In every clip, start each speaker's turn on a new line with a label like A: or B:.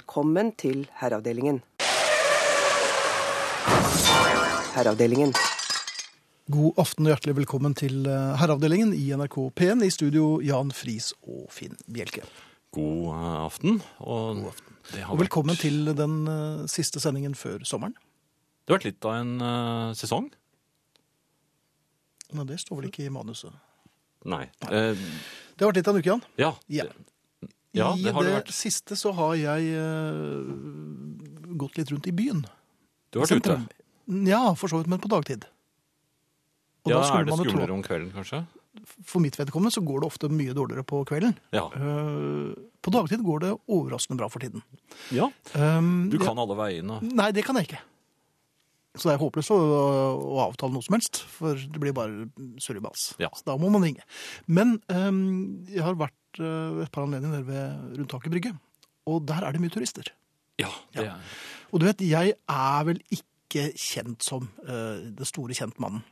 A: Velkommen til Herreavdelingen. Herreavdelingen.
B: God aften og hjertelig velkommen til eh, Herreavdelingen i NRK P1. I studio Jan Friis og Finn Bjelke.
C: God eh, aften. Og Det, har
B: Og velkommen
C: vært,
B: til den eh, siste sendingen før sommeren.
C: det har vært litt av en eh, sesong.
B: Nei, det står vel ikke i manuset.
C: Nei. Eh,
B: Det har vært litt av en uke, Jan.
C: ja.
B: Ja.
C: Ja,
B: I
C: det har det vært.
B: siste så har jeg eh, gått litt rundt i byen.
C: Du har vært ute.
B: Ja, for så vidt, men på dagtid. Og
C: Ja,
B: da
C: er
B: skulle
C: det
B: man jo tro
C: skumlere om kvelden, kanskje?
B: at for mitt vedkommende så går det ofte mye dårligere på kvelden.
C: Ja.
B: Eh, på dagtid går det overraskende bra for tiden.
C: ja.
B: Um,
C: Du kan alle veiene.
B: Nei, det kan jeg ikke. Så det er håpløst å, å avtale noe som helst, for det blir bare surrebas.
C: Ja.
B: Så da må man ringe. Men øhm, jeg har vært øh, et par anledninger nede ved Rundtaket brygge, og der er det mye turister.
C: Ja, det
B: Ja.
C: er
B: Og du vet, jeg er vel ikke kjent som øh, den store kjentmannen.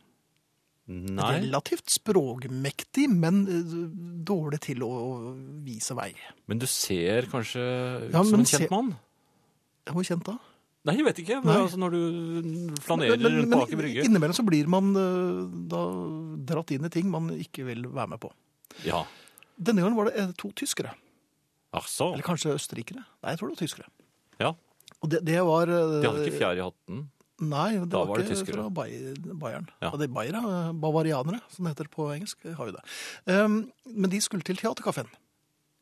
C: Nei,
B: Relativt språkmektig, men øh, dårlig til å vise vei.
C: men du ser kanskje ut
B: Ja,
C: som
B: men
C: en kjent
B: se-
C: mann?
B: Hvor kjent da?
C: Nei, jeg vet ikke. Men,
B: Nei.
C: altså, når du flanerer rundt på Aker Brygge.
B: innimellom så blir man øh, da dratt inn i ting man ikke vil være med på.
C: Ja.
B: Denne gangen var det eh, to tyskere.
C: Jaså.
B: Eller kanskje østerrikere? Nei, jeg tror det var tyskere.
C: Ja.
B: Og det, det var eh,
C: De hadde ikke fjær i hatten.
B: Nei, det
C: Da
B: var,
C: var det
B: ikke
C: tyskere.
B: fra Bay- Bayern. Ja.
C: Ja.
B: det er Bayern, eh, bavarianere, som det heter på engelsk. jeg Har jo det. Ehm, men de skulle til Theatercaféen.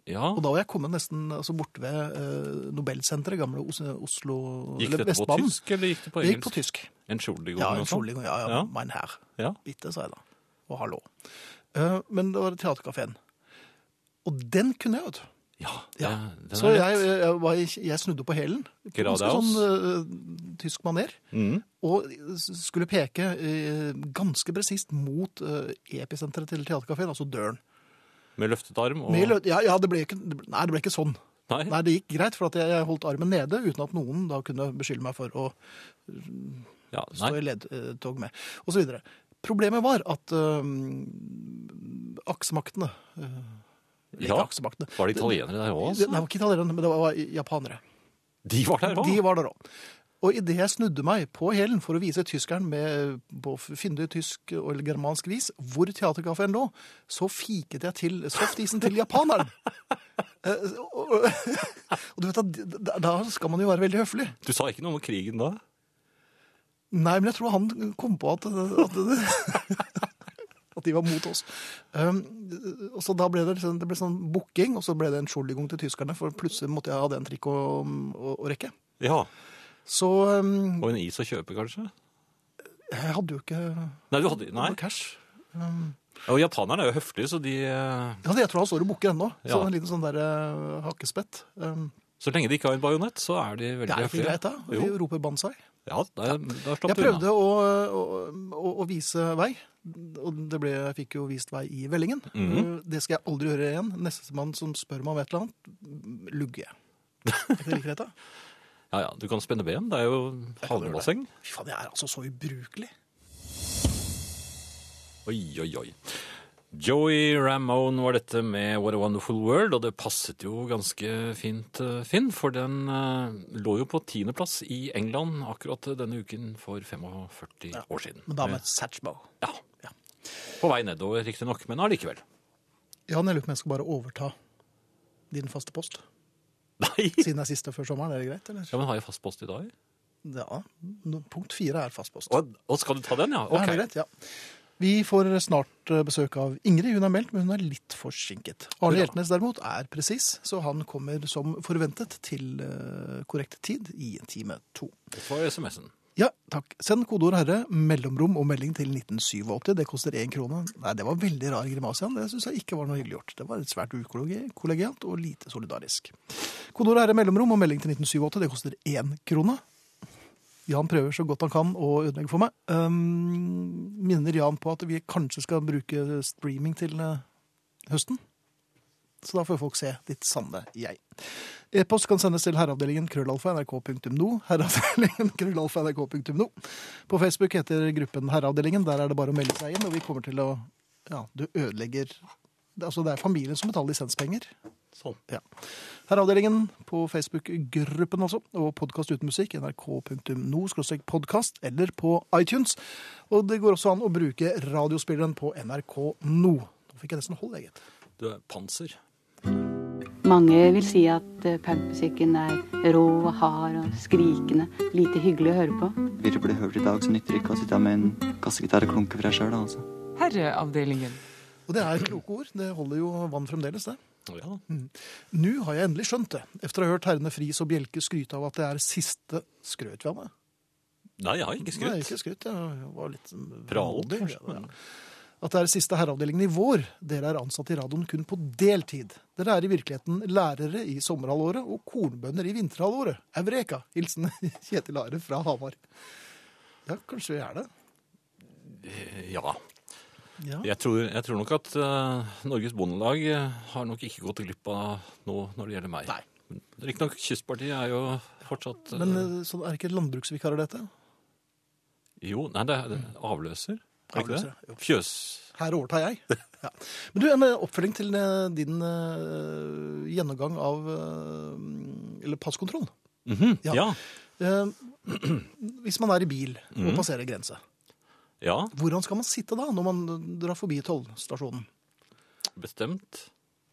C: Ja.
B: Og da var jeg kommet nesten altså, borte ved eh, Nobelsenteret, gamle Os- Oslo
C: Gikk dette på
B: Vestbanen.
C: tysk, eller gikk det på
B: Det gikk på
C: engelsk?
B: tysk.
C: En skjoldegoden
B: Ja,
C: og sånn?
B: Entschuldigung, ja, ja,
C: Ja.
B: mein Herr.
C: Ja.
B: Bitte, sa jeg da. Og hallo. Eh, men det var Theatercaféen. Og den kunne jeg, vet du.
C: Ja,
B: Ja.
C: det- den
B: Så
C: er
B: jeg,
C: lett.
B: jeg, var, i- jeg snudde på hælen. på
C: Gradaus.
B: Ganske sånn eh, tysk maner.
C: Mm.
B: Og s- skulle peke eh, ganske presist mot eh, episenteret til Theatercaféen, altså døren.
C: Med løftet arm og
B: Med lø- ja, ja det, ble ikke, det ble- nei, det ble ikke sånn.
C: Nei.
B: Nei, Det gikk greit, for at jeg, jeg holdt armen nede uten at noen da kunne beskylde meg for å
C: Ja,
B: stå
C: nei.
B: i ledtog med, osv. Problemet var at uh, aksemaktene eh,
C: Ja.
B: Ikke aksemaktene.
C: Var det italienere der òg?
B: Det, nei, det var ikke italienerne, men det var japanere.
C: De var der òg?
B: De var der òg. Og idet jeg snudde meg på hælen for å vise tyskeren med, på fyndig tysk og germansk vis hvor teaterkafeen lå, så fiket jeg til softisen til japaneren. Eh, og, og, og du vet at da, da skal man jo være veldig høflig.
C: Du sa ikke noe om krigen da?
B: Nei, men jeg tror han kom på at At, at de var mot oss. Um, og så da ble det, liksom- det ble sånn booking, og så ble det en skjoldigong til tyskerne, for plutselig måtte jeg ha den trikk å, å, å rekke.
C: Ja.
B: Så um,
C: Og en is å kjøpe, kanskje?
B: jeg hadde jo ikke
C: Nei, du hadde Nei.
B: Nei. cash. Um,
C: Ja, Og japanerne er jo høflige, så de eh,
B: Ja, jeg tror han står og bukker ennå.
C: Ja.
B: Sånn en liten sånn der eh, hakkespett. Um,
C: Så lenge de ikke har en bajonett, så er de
B: det
C: veldig
B: er ikke
C: høflige.
B: greit, da. Vi
C: Jo.
B: roper bansai.
C: Ja, der, der slapp
B: Jeg
C: du unna.
B: prøvde å, å, å, å vise vei, og det ble, jeg fikk jo vist vei i vellingen.
C: Mhm.
B: Uh, Det skal jeg aldri gjøre igjen. Nestemann som spør meg om et eller annet, lugger jeg. Er ikke det like greit, da?
C: Ja, ja, Du kan spenne ben. Det er jo
B: Jeg kan gjøre det.
C: havnebasseng.
B: Fy faen, jeg er altså så ubrukelig.
C: Oi, oi, oi. Joey Ramone var dette med What a Wonderful World, og det passet jo ganske fint, eh, Finn, for den eh, lå jo på tiendeplass i England akkurat denne uken for 45 år siden.
B: Men da med Satchmo.
C: Ja.
B: Ja.
C: På vei nedover, riktignok, men allikevel.
B: Jan, jeg lurer på om jeg skal bare overta din faste post.
C: Nei!
B: Siden det er siste før sommeren, er det greit, eller?
C: Ja, men har jeg fast post i dag?
B: Ja. no- Punkt fire er fast post.
C: Og, skal du ta den, ja?
B: Ja,
C: Ok.
B: det er greit, ja. Vi får snart eh, besøk av Ingrid. Hun er meldt, men hun er litt forsinket. Arne
C: Hurra.
B: Hjeltnes derimot er presis, så han kommer som forventet til eh, korrekt tid i time to.
C: Det var SMS-en.
B: Ja, takk. Send kodeord 'herre', mellomrom og melding til 1987. Det koster én krone. Nei, det var veldig rar grimas igjen. Det syns jeg ikke var noe hyggelig gjort. Det var svært ukollegialt og lite solidarisk. Kodeord 'herre', mellomrom og melding til 1987. Det koster én krone. Jan prøver så godt han kan å ødelegge for meg. Um, minner Jan på at vi kanskje skal bruke streaming til eh, høsten. Så da får folk se ditt sanne jeg. E-post kan sendes til herreavdelingen krøllalfa nrk.no. Herreavdelingen krøllalfa nrk.no. På Facebook heter gruppen Herreavdelingen. Der er det bare å melde seg inn, og vi kommer til å Ja, du ødelegger Det, er altså, det er familien som betaler lisenspenger.
C: Sånn.
B: Ja. Herreavdelingen på Facebook-gruppen også, og podkast uten musikk, nrk.no-podkast, eller på iTunes. Og det går også an å bruke radiospilleren på NRK nå. Nå fikk jeg nesten hold, jeg, gitt.
C: Du er panser.
D: Mange vil si at eh, punkmusikken er rå og hard og skrikende. Lite hyggelig å høre på.
E: Vil du bli hørt i dag, så nytter det ikke å sitte her med en kassegitar og klunke for deg sjøl, altså.
F: Herreavdelingen.
B: Og det er kloke ord. Det holder jo vann fremdeles, det.
C: Ja da.
B: Mm. Nå har jeg endelig skjønt det, etter å ha hørt herrene Friis og Bjelke skryte av at det er siste skrøt vi av meg.
C: Nei, jeg har ikke
B: Nei,
C: skrytt.
B: ikke skryt. Jeg var litt mm,
C: Pralt,
B: modig,
C: kanskje,
B: ja. At det er siste herreavdelingen i vår. Dere er ansatt i radioen kun på deltid. Dere er i virkeligheten lærere i sommerhalvåret og kornbønder i vinterhalvåret. Eureka! Hilsen Kjetil Are fra Hamar. Ja, kanskje vi er det.
C: Ja.
B: Ja.
C: Jeg tror, jeg tror nok at eh, Norges Bondelag eh, har nok ikke gått glipp av noe når det gjelder meg. Nei. Riktignok, Kystpartiet er jo fortsatt eh,
B: Men eh, så er det ikke landbruksvikarer dette?
C: Jo, nei, det er det er avløser. Er ikke
B: Avløser, jo.
C: det? Fjøs.
B: Her overtar jeg. Ja. Men du, en eh, oppfølging til eh, din eh, gjennomgang av eh, Eller passkontroll.
C: Mhm,
B: Ja.
C: Ja.
B: Eh, hvis man er i bil og passerer grense,
C: ja.
B: hvordan skal man sitte da når man drar forbi tollstasjonen?
C: Bestemt.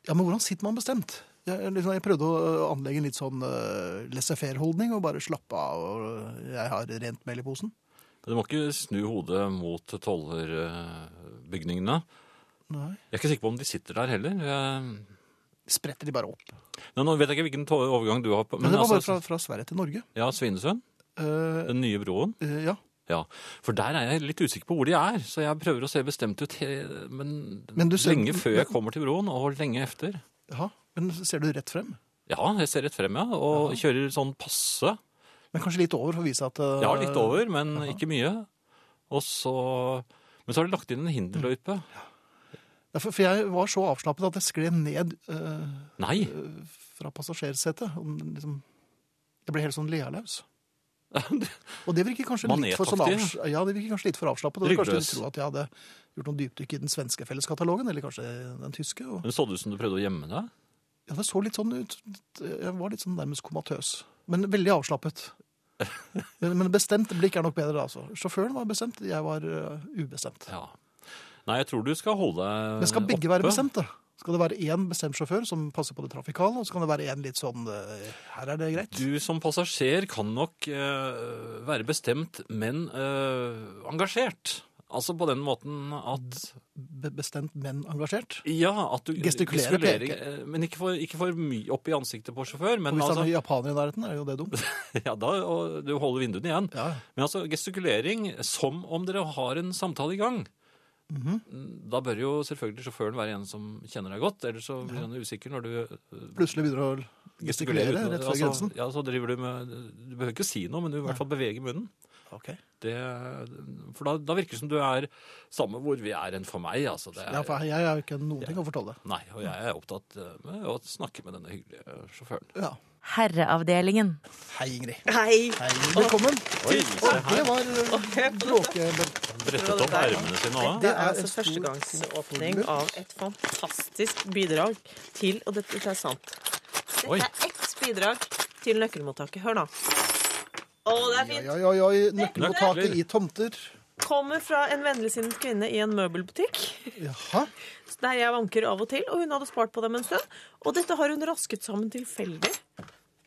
B: Ja, men hvordan sitter man bestemt? Jeg, jeg liksom, jeg prøvde å eh, anlegge en litt sånn uh, laissez-faire-holdning og bare slappe av. Og eh, jeg har rent mel i posen.
C: Du må ikke snu hodet mot tollerbygningene.
B: Nei.
C: Jeg er ikke sikker på om de sitter der heller. Jeg-
B: Spretter de bare opp.
C: Nei, nå vet jeg ikke hvilken to- overgang du har på.
B: Men det var bare fra,
C: altså-
B: fra Sverige til Norge.
C: Ja, Svinesund.
B: Eh,
C: Den nye broen.
B: eh, ja.
C: Ja. For der er jeg litt usikker på hvor de er, så jeg prøver å se bestemt ut he- men
B: Men du ser-
C: lenge før jeg kommer til broen, og lenge efter.
B: Jaha. Men ser du rett frem?
C: Ja, jeg ser rett frem, ja, og kjører sånn passe.
B: Men kanskje litt over for å vise at eh,
C: Ja, litt over, men ikke mye. Og så Men så har de lagt inn en hinderløype.
B: Ja, for, for jeg var så avslappet at jeg skled ned eh,
C: Nei!
B: fra passasjersetet. og Liksom, jeg ble helt sånn lealaus. Og det virker kanskje litt for, sånn avs
C: Manetaktig.
B: ja, det virker kanskje litt for avslappet. Og kanskje de
C: Ryggløs.
B: tro at jeg hadde gjort noen dypdykk i den svenske felleskatalogen, eller kanskje den tyske. Og,
C: Men så det ut som du prøvde å gjemme deg?
B: ja, det så litt sånn ut. Jeg var litt sånn nærmest komatøs. Men veldig avslappet. Men, men bestemt blikk er nok bedre, da. Altså. Sjåføren var bestemt, jeg var eh, ubestemt.
C: Ja. Nei, jeg tror du skal holde deg
B: Men skal begge være
C: oppe.
B: bestemte? Skal det være én bestemt sjåfør som passer på det trafikale, og så kan det være én litt sånn eh, Her er det greit.
C: Du som passasjer kan nok eh, være bestemt, men eh, engasjert. Altså på den måten at
B: Be bestemt, men engasjert.
C: Ja, at du
B: Gestikulere,
C: gestikulerer,
B: peke.
C: eh, Men ikke for, ikke for mye opp i ansiktet på sjåfør.
B: Og
C: Men
B: hvis det
C: altså,
B: er japanere i nærheten, er jo det dumt.
C: ja, da, og du holder vinduene igjen.
B: Ja.
C: Men altså gestikulering som om dere har en samtale i gang.
B: Mhm.
C: Da bør jo selvfølgelig sjåføren være en som kjenner deg godt. Ellers så blir han usikker når du eh,
B: Plutselig begynner å gestikulere
C: uten å-
B: rett før
C: altså,
B: grensen.
C: ja, så driver du med Du behøver ikke si noe, men du i hvert fall beveger munnen.
B: Ok.
C: Det, for da, da virker det som du er samme hvor vi er enn for meg. Altså, det er,
B: Ja, for jeg har jo ikke noen ting å fortelle.
C: Nei, og jeg er opptatt eh, med å snakke med denne hyggelige sjåføren.
B: Ja.
G: Herreavdelingen.
B: Hei, Ingrid.
H: Hei.
B: Hei, velkommen.
C: Oi, se
B: Det
C: her.
B: var eh, bråke...
C: Brettet opp ermene sine òg.
B: Det
H: Det
B: er
H: er
B: en
H: altså
B: stor
H: førstegangsåpning av et fantastisk bidrag til Og dette er sant.
C: Oi.
H: Dette er ett bidrag til nøkkelmottaket. Hør nå. Å, det er fint!
B: Oi, oi, oi. Nøkkelmottaket
C: Nøkler.
B: i tomter.
H: Kommer fra en vennligsinnet kvinne i en møbelbutikk.
B: Jaha.
H: Der jeg vanker av og til, og hun hadde spart på dem en stund. Og dette har hun rasket sammen tilfeldig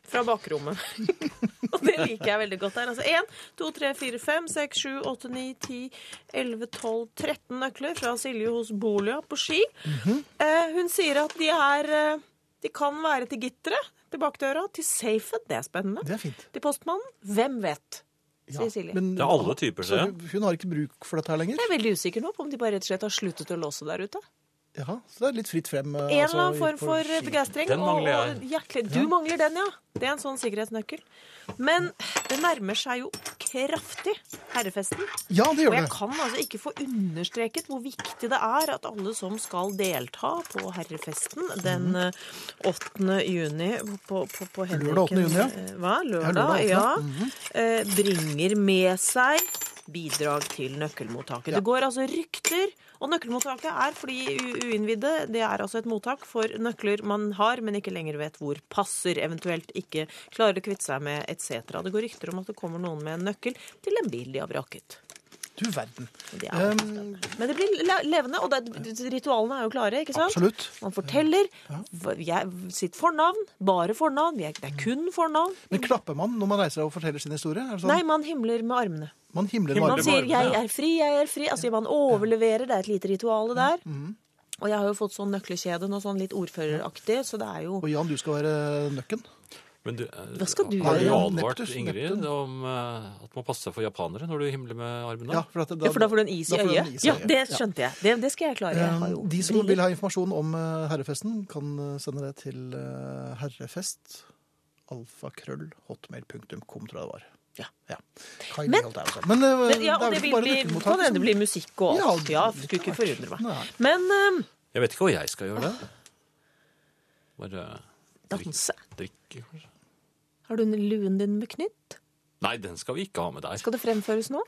H: fra bakrommet. og det liker jeg veldig godt der. Altså 1, 2, 3, 4, 5, 6, 7, 8, 9, 10, 11, 12, 13 nøkler fra Silje hos Bolia på Ski. eh, hun sier at de er eh, De kan være til gitteret, til bakdøra, til safen. Det er spennende.
B: Det er fint.
H: Til postmannen. Hvem vet?
B: Ja.
H: Sier Silje.
B: Men
C: Det er alle typer,
B: så
C: ser jeg.
B: hun, hun har ikke bruk for dette her lenger?
H: Jeg er veldig usikker nå på om de bare rett og slett har sluttet å låse der ute.
B: Jaha. Så det er litt fritt frem. eh, altså,
H: En eller annen form altså, for begeistring.
C: Den mangler jeg.
H: og- og hjertelig- Du mangler den, ja. Det er en sånn sikkerhetsnøkkel. Men det nærmer seg jo kraftig herrefesten.
B: Ja, det
H: Og
B: gjør
H: jeg
B: det.
H: kan altså ikke få understreket hvor viktig det er at alle som skal delta på herrefesten den eh, 8. juni på, på, på Henriken
B: Mhm. Lørdag 8. juni, ja.
H: eh, Hva?
B: Ja, lørdag mhm. 8.,
H: Lørdag, ja. eh, Bringer med seg bidrag til nøkkelmottaket. Det går altså rykter Og nøkkelmottaket er for de u- uinnvidde. Det er altså et mottak for nøkler man har, men ikke lenger vet hvor passer, eventuelt ikke klarer å kvitte seg med etc. Det går rykter om at det kommer noen med en nøkkel til en bil de har vraket.
B: Du verden.
H: Det er jo spennende. Men det blir le- levende, og det, ritualene er jo klare, ikke sant?
B: Absolutt.
H: Man forteller hva- jeg, sitt fornavn, bare fornavn, jeg, det er kun fornavn.
B: Men klapper man når man reiser seg og forteller sin historie? Er det sånn,
H: Mm. Nei, man himler med armene.
B: man himler med
C: Himler
H: Man
B: armene?
H: sier
C: varme,
H: 'jeg
C: ja.
H: er fri, jeg er fri'. Altså man overleverer, det er et lite ritual der.
B: Mm.
H: Og jeg har jo fått sånn nøklekjede, noe sånn litt ordføreraktig, så det er jo
B: Og Jan, du skal være nøkken.
C: Men du, eh,
H: Hva skal du
C: har du
B: gjøre?
C: advart
B: Neptus,
C: Ingrid
B: Neptun.
C: om eh, at man passer seg for japanere når du himler med armene?
B: Ja, for, at
H: ja, For da får du en is i
B: da får du en
H: øyet?
B: is i
H: Ja, det skjønte jeg. Det, det skal jeg klare. Jeg har jo
B: De som
H: briller.
B: vil ha informasjon om eh, herrefesten, kan eh, sende det til eh, herrefest alfakrøllhotmail.com, tror jeg det var.
H: Ja.
B: Kai Men, Men, eh,
H: Men, ja, og
B: det er vel
H: det vil
B: ikke bare
H: bli, kan
B: nøkkelmottaket
H: hende det
B: som-
H: blir musikk og alt. Ja,
B: Ja, det-
H: skulle ikke forundre meg.
B: Nei.
H: Men ehm,
C: Jeg vet ikke hva jeg skal gjøre det. Bare
H: danse?
C: drikke, kanskje.
H: Har du luen din med knytt?
C: Nei, den skal vi ikke ha med der.
H: Skal det fremføres nå?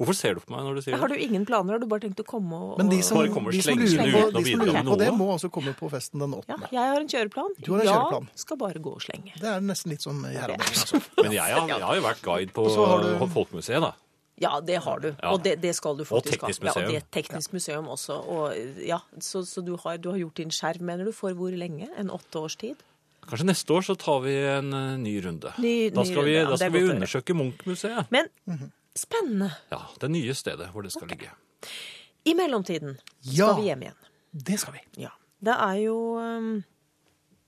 C: Hvorfor ser du på meg når du sier
H: Har
C: det?
H: du ingen planer? Har du bare tenkt å komme og
B: Men de som,
C: Bare kommer
B: de som
C: slengende
B: lurer på,
H: uten å
B: de som
C: vite
B: lurer
C: om
B: på det,
C: noe.
B: må altså komme på festen den
H: Ja,
B: 8.
H: jeg har en kjøreplan.
B: Du har en kjøreplan.
H: Ja, skal bare gå og slenge.
B: Det er nesten litt som i herreavdelingen. Altså.
C: Men jeg, har- jeg har jo vært guide på,
B: så har du-
C: på Folkemuseet, da.
H: Ja, det har du.
C: Ja.
H: Og det, det skal du
C: Og
H: faktisk
C: teknisk
H: ha. Ja, og
C: museum.
H: det er teknisk museum også. Og, ja, så så du, har, du har gjort din skjerv, mener du, for hvor lenge? En åtte års tid?
C: Kanskje neste år så tar vi en eh, ny runde.
H: Ny-
C: da
H: ny
C: skal vi,
H: runde, ja,
C: da skal vi
H: det er godt å høre.
C: undersøke Munch-museet.
H: Men
B: Mhm.
H: spennende.
C: Ja, det nye stedet hvor det skal ligge.
H: I mellomtiden
B: Ja.
H: skal vi hjem igjen.
B: Det skal vi.
H: Ja. Det er jo um,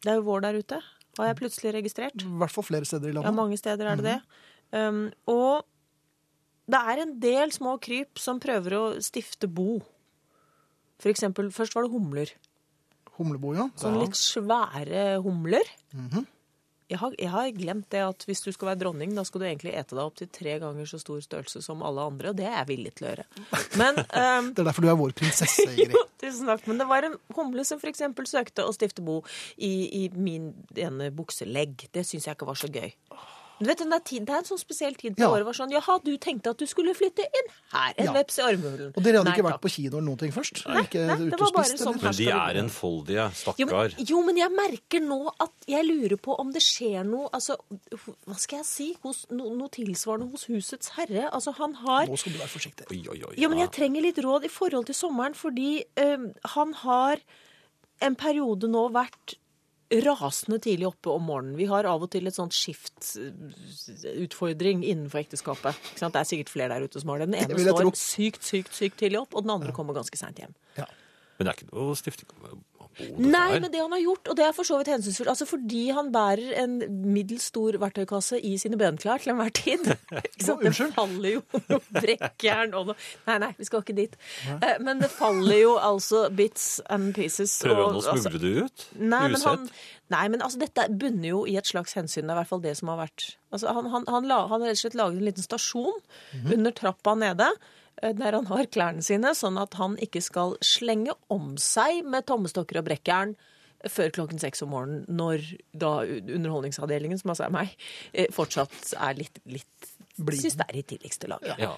H: Det er jo vår der ute, har jeg plutselig registrert.
B: I hvert fall flere steder i
H: Ja,
B: landet.
H: mange steder er det det. Um, og det er en del små kryp som prøver å stifte bo. For eksempel, først var det humler.
B: Humlebo, ja.
H: Sånne litt svære humler. jeg, har, jeg har glemt det at hvis du skal være dronning, da skal du egentlig ete deg opp til tre ganger så stor størrelse som alle andre, og det er jeg villig til å gjøre. Men um,
B: Det er derfor du er vår prinsesse, Ingrid.
H: Jo, tusen takk. Men det var en humle som f.eks. søkte å stifte bo i, i min ene bukselegg. Det syns jeg ikke var så gøy. Men Du vet, den der tid, Det er en sånn spesiell tid på
B: Ja.
H: året. var sånn, Jaha, du tenkte at du skulle flytte inn her. En
B: Ja.
H: veps i armhulen.
B: Og dere hadde
H: Nei,
B: ikke vært
H: takk.
B: på kino eller noen ting først?
H: Nei,
B: ikke
H: nei,
B: ute
H: det
B: og
H: var bare
B: spist,
H: sånn
B: eller?
C: Men de
H: skal vi-
C: er enfoldige,
H: jo men,
C: stakkar.
H: jo, men jeg merker nå at jeg lurer på om det skjer noe altså, Hva skal jeg si? Hos, no, noe tilsvarende hos Husets herre. Altså, han har
B: Nå skal du være forsiktig.
C: Oi, oi, oi.
H: Jo, men
C: ja.
H: jeg trenger litt råd i forhold til sommeren, fordi øhm, han har en periode nå vært rasende tidlig oppe om morgenen. Vi har av og til et sånt skiftutfordring innenfor ekteskapet. Ikke sant? Det er sikkert flere der ute som har det. Den
B: Det
H: ene
B: vil jeg
H: står
B: tro.
H: sykt, sykt, sykt tidlig opp, og den andre kommer ganske seint hjem.
B: Ja.
C: Men det er ikke noe stifting av bo, dette
H: Nei,
C: her.
H: men det han har gjort, og det er for så vidt hensynsfullt, altså fordi han bærer en middels stor verktøykasse i sine benklær til enhver tid. Ikke
B: Å,
H: sant? Det
B: unnskyld.
H: faller jo noe brekkjern og noe Nei, nei, vi skal ikke dit. Eh, Men det faller jo altså bits and pieces.
C: Prøver han å
H: og- altså-
C: smugle det ut?
H: Nei, men, han,
C: Usett?
H: nei, men altså, dette bunner jo i et slags hensyn. Det er i hvert fall det som har vært altså, han, han, han, la, han har rett og slett laget en liten stasjon
C: Mhm.
H: under trappa nede, eh, der han har klærne sine, sånn at han ikke skal slenge om seg med tommestokker og brekkjern før klokken seks om morgenen, når da underholdningsavdelingen, som altså er meg, eh, fortsatt er litt, litt
B: Blid.
H: Syns det er i tidligste laget.
C: Ja.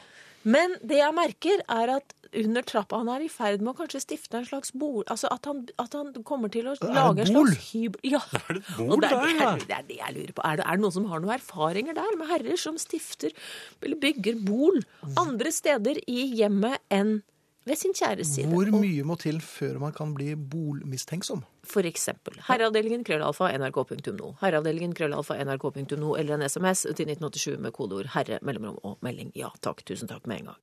H: Men det jeg merker, er at under trappa han er i ferd med å kanskje stifte en slags bol... Altså at han, at han kommer til å
B: det
H: lage en
B: bol?
H: slags hybel... Ja.
C: Er det et bol
H: Og det er
C: der,
H: det,
C: ja?
H: jeg- det er det jeg lurer på. Er det, er det noen som har noen erfaringer der med herrer som stifter eller bygger bol andre steder i hjemmet enn ved sin kjæres side?
B: Hvor mye må til før man kan bli bolmistenksom?
H: For eksempel herreavdelingen krøllalfa nrk.no, herreavdelingen krøllalfa nrk.no eller en SMS til 1987 med kodeord 'herre', mellomrom og melding. Ja takk, tusen takk med en gang.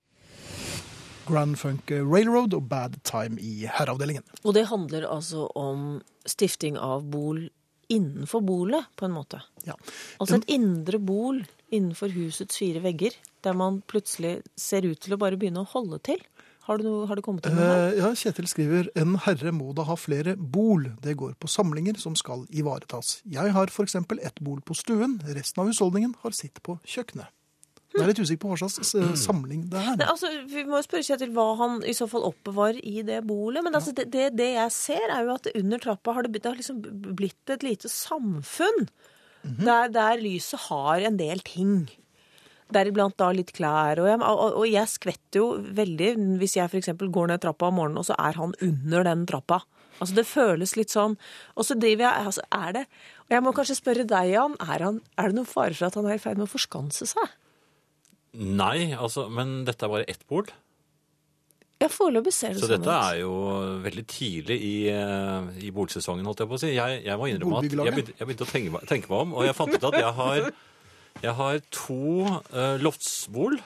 B: Grand Funk Railroad og Bad Time i herreavdelingen.
H: Og det handler altså om stifting av bol innenfor bolet, på en måte.
B: Ja.
H: Altså et indre bol innenfor husets fire vegger, der man plutselig ser ut til å bare begynne å holde til. Har du, noe, har du kommet til noe her?
B: Eh, ja, Kjetil skriver en herre må da ha flere bol. Det går på samlinger som skal ivaretas. Jeg har f.eks. ett bol på stuen, resten av husholdningen har sitt på kjøkkenet. Jeg er litt usikker på hva slags eh, samling det
H: Nei,
B: er.
H: altså, Vi må jo spørre Kjetil hva han i så fall oppbevarer i det bolet. Men altså, det, det, det jeg ser, er jo at under trappa har det, blitt- det har liksom blitt
C: Mhm.
H: et lite samfunn. der, der lyset har en del ting. Deriblant da litt klær. Og jeg, og, og jeg skvetter jo veldig hvis jeg f.eks. går ned trappa om morgenen, og så er han under den trappa. Altså Det føles litt sånn. Og så driver jeg altså er det, Og jeg må kanskje spørre deg, Jan. Er, han, er det noen fare for at han er i ferd med å forskanse seg?
C: Nei, altså, men dette er bare ett bord.
H: Ja, foreløpig ser det
C: Så
H: sånn
C: dette er jo veldig tidlig i, eh, i bolsesongen, holdt jeg på å si. Jeg, jeg må innrømme at jeg
B: Bordbyggelaget.
C: begynte, jeg begynte å tenke meg, tenke meg om, og jeg fant ut at jeg har, jeg har to eh, loftsbol.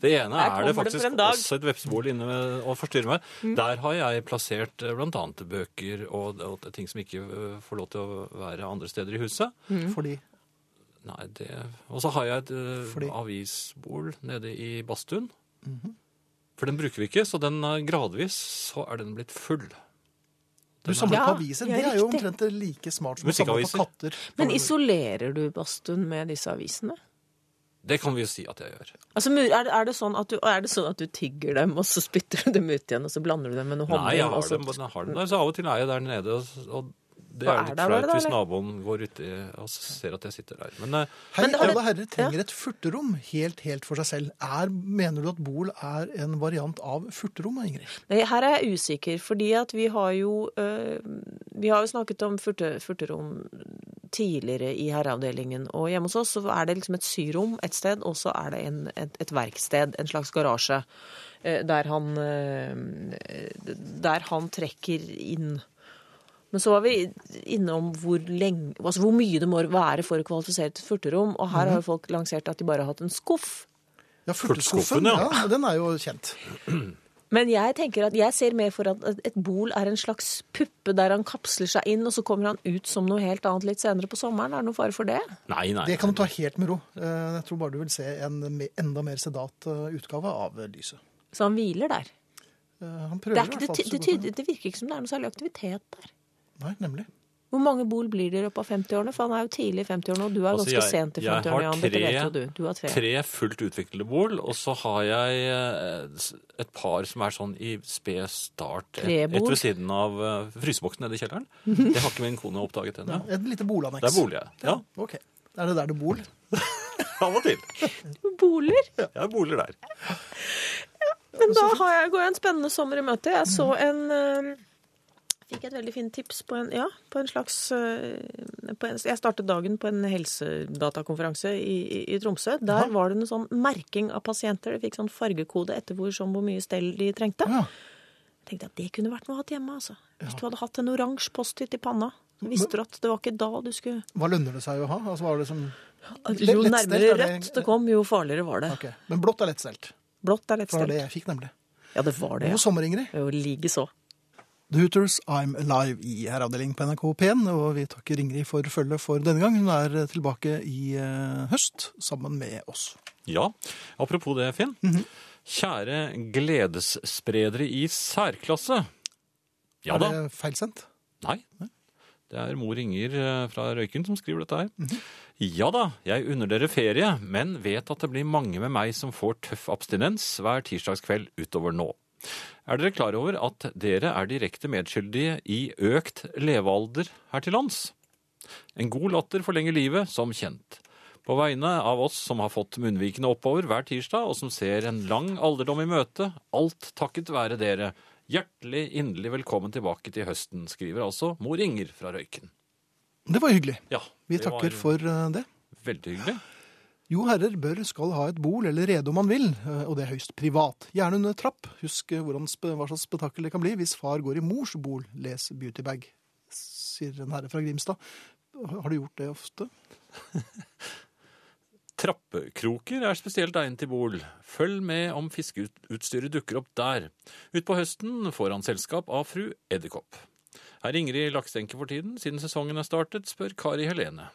C: Det ene
H: Her
C: er det
H: kommer det for
C: faktisk
H: en dag. Mm.
C: også et vepsebol inne ved- og forstyrrer meg. Der har jeg plassert eh, blant annet bøker og, og ting som ikke eh, får lov til å være andre steder i huset.
B: Fordi
C: Nei, det... Og så har jeg et eh,
B: Fordi-
C: avisbol nede i badstuen. For den bruker vi ikke, så den er gradvis så er den blitt full.
B: du samler
H: Ja,
B: på aviser.
H: ja,
B: Det er jo
H: riktig.
B: omtrent like smart som å samle på
C: Musikkaviser.
B: katter.
H: Men isolerer du badstuen med disse avisene?
C: Det kan vi jo si at jeg gjør.
H: Altså, mur- er, det- er, det sånn at du, er det sånn at du tygger dem, og så spytter du dem ut igjen, og så blander du dem med noe honning?
C: Nei, jeg
H: og
C: har,
H: så-
C: den, jeg har den der, så av og til er jeg der nede. og- Og det er
H: altså- Hva er
C: jo litt
H: det, var det
C: flaut hvis
H: der,
C: naboen går uti og ser at jeg sitter der. Men eh,
B: Hei,
H: det har
B: alle
H: det-
B: herrer trenger et furterom helt, helt for seg selv. Er, mener du at bol er en variant av furterommet, Ingrid?
H: Nei, Eh, her er jeg usikker, fordi at vi har jo, øh, vi har jo snakket om furte, furterom tidligere i herreavdelingen. Og hjemme hos oss så er det liksom et syrom et sted, og så er det en, et, et verksted, en slags garasje, eh, der han, eh, der han trekker inn. Men så var vi innom hvor, lenge, altså hvor mye det må være for å kvalifisere til et furterom. Og her har jo folk lansert at de bare har hatt en skuff.
B: Ja,
C: Furteskuffen,
B: furteskuffen. Ja.
C: ja.
B: den er jo kjent.
H: Men jeg tenker at jeg ser mer for at et- et bol er en slags puppe der han kapsler seg inn, og så kommer han ut som noe helt annet litt senere på sommeren. Er det noen fare for det?
C: nei, nei.
B: Det kan du ta helt med ro. Eh, Jeg tror bare du vil se en me- enda mer sedat eh, utgave av eh, lyset.
H: Så han hviler der.
B: Eh, Han
H: Det,
B: prøver
H: er ikke, det,
B: i hvert fall
H: ty-
B: så
H: det,
B: godt han
H: tyder- det virker ikke som det er noe særlig aktivitet der.
B: kan. Nei, nemlig.
H: Hvor mange bol blir det i løpet av 50-årene? For han er jo tidlig i 50-årene, og du er
C: Altså,
H: ganske
C: jeg-
H: sent i
C: jeg har
H: 50-årene, Jan. Dette vet jo
C: tre-
H: du. Du har tre.
C: Tre fullt utviklede bol, og så har jeg eh, s- et par som er sånn i sped start et,
H: Trebol?
C: et ved siden av eh, fryseboksen nede i kjelleren. Det har ikke min kone oppdaget ennå.
B: Et lite bolanneks.
C: Det er bolig, ja.
B: Ok. Er det der du bor?
C: Av og til.
H: Boler?
C: Jeg har boliger der.
H: Men da har jeg, går jeg en spennende sommer i møte. Jeg så
B: Mm.
H: en eh, Fikk et veldig fint tips på en, ja, på en slags eh, på en, Jeg startet dagen på en helsedatakonferanse i, i, i Tromsø. Der var det en sånn merking av pasienter. De fikk sånn fargekode etter hvor, sånn, hvor mye stell de trengte.
B: Ja.
H: Jeg tenkte at det kunne vært noe å ha til hjemme. altså. Hvis du hadde hatt en oransje Post-It i panna, så visste du at det var ikke da du skulle
B: Hva lønner det seg å ha? Altså, var det som...
H: Jo
B: Lettstelt
H: nærmere
B: er det-
H: rødt det kom, jo farligere var det.
B: Ok. Men blått er lettstelt.
H: Blått er lett
B: Det var det
H: stelt.
B: jeg fikk, nemlig.
H: Ja, det var det.
B: God
H: ja.
B: sommer, Ingrid.
H: Jo, likeså.
B: The Hooters, I'm Alive i herreavdelingen på NRK P1. Og vi takker Ingrid for følget for denne gang. Hun er tilbake i eh, høst sammen med oss.
C: Ja. Apropos det, Finn.
H: Mhm.
C: Kjære gledesspredere i særklasse. Ja da.
B: Er det feilsendt?
C: Nei. Det er mor Inger eh, fra Røyken som skriver dette her. Ja da, jeg unner dere ferie, men vet at det blir mange med meg som får tøff abstinens hver tirsdagskveld utover nå. Er dere klar over at dere er direkte medskyldige i økt levealder her til lands? En god latter forlenger livet, som kjent. På vegne av oss som har fått munnvikene oppover hver tirsdag, og som ser en lang alderdom i møte, alt takket være dere. Hjertelig, inderlig velkommen tilbake til høsten, skriver altså mor Inger fra Røyken.
B: Det var hyggelig.
C: Ja,
B: Vi
C: det
B: takker
C: var
B: for eh, det.
C: Veldig hyggelig.
B: Jo herrer bør skal ha et bol eller rede om man vil, eh, og det er høyst privat. Gjerne under trapp. Husk eh, hvordan, spe- hva slags spetakkel det kan bli hvis far går i mors bol, les Beautybag, sier en herre fra Grimstad. Har du gjort det ofte?
C: Trappekroker er spesielt egnet til bol. Følg med om fiskeutstyret dukker opp der. Utpå høsten får han selskap av fru Edderkopp. Er Ingrid laksenke for tiden, siden sesongen er startet, spør Kari Helene.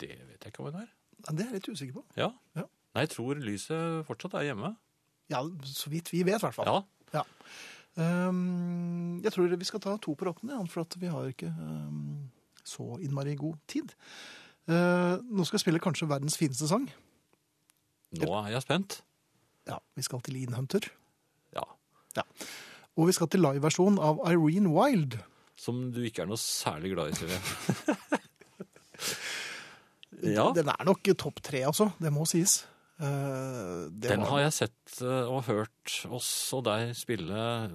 C: Det vet jeg ikke om hun er.
B: Nei, Det er jeg litt usikker på.
C: Ja.
B: Ja.
C: Nei, jeg tror lyset fortsatt er hjemme.
B: Ja, Så vidt vi vet, i hvert fall.
C: Ja.
B: Ja. Ehm, jeg tror vi skal ta to på rappen, ja, for at vi har ikke ehm, så innmari god tid. Eh, nå skal jeg spille kanskje verdens fineste sang.
C: Nå er jeg spent.
B: Ja, Vi skal til Innhunter.
C: Ja.
B: Og vi skal til liveversjon av Irene Wild.
C: Som du ikke er noe særlig glad i, Silje. Ja.
B: Den er nok topp tre, altså. Det må sies. Eh, det
C: Den
B: var-
C: har jeg sett eh, og hørt oss og deg spille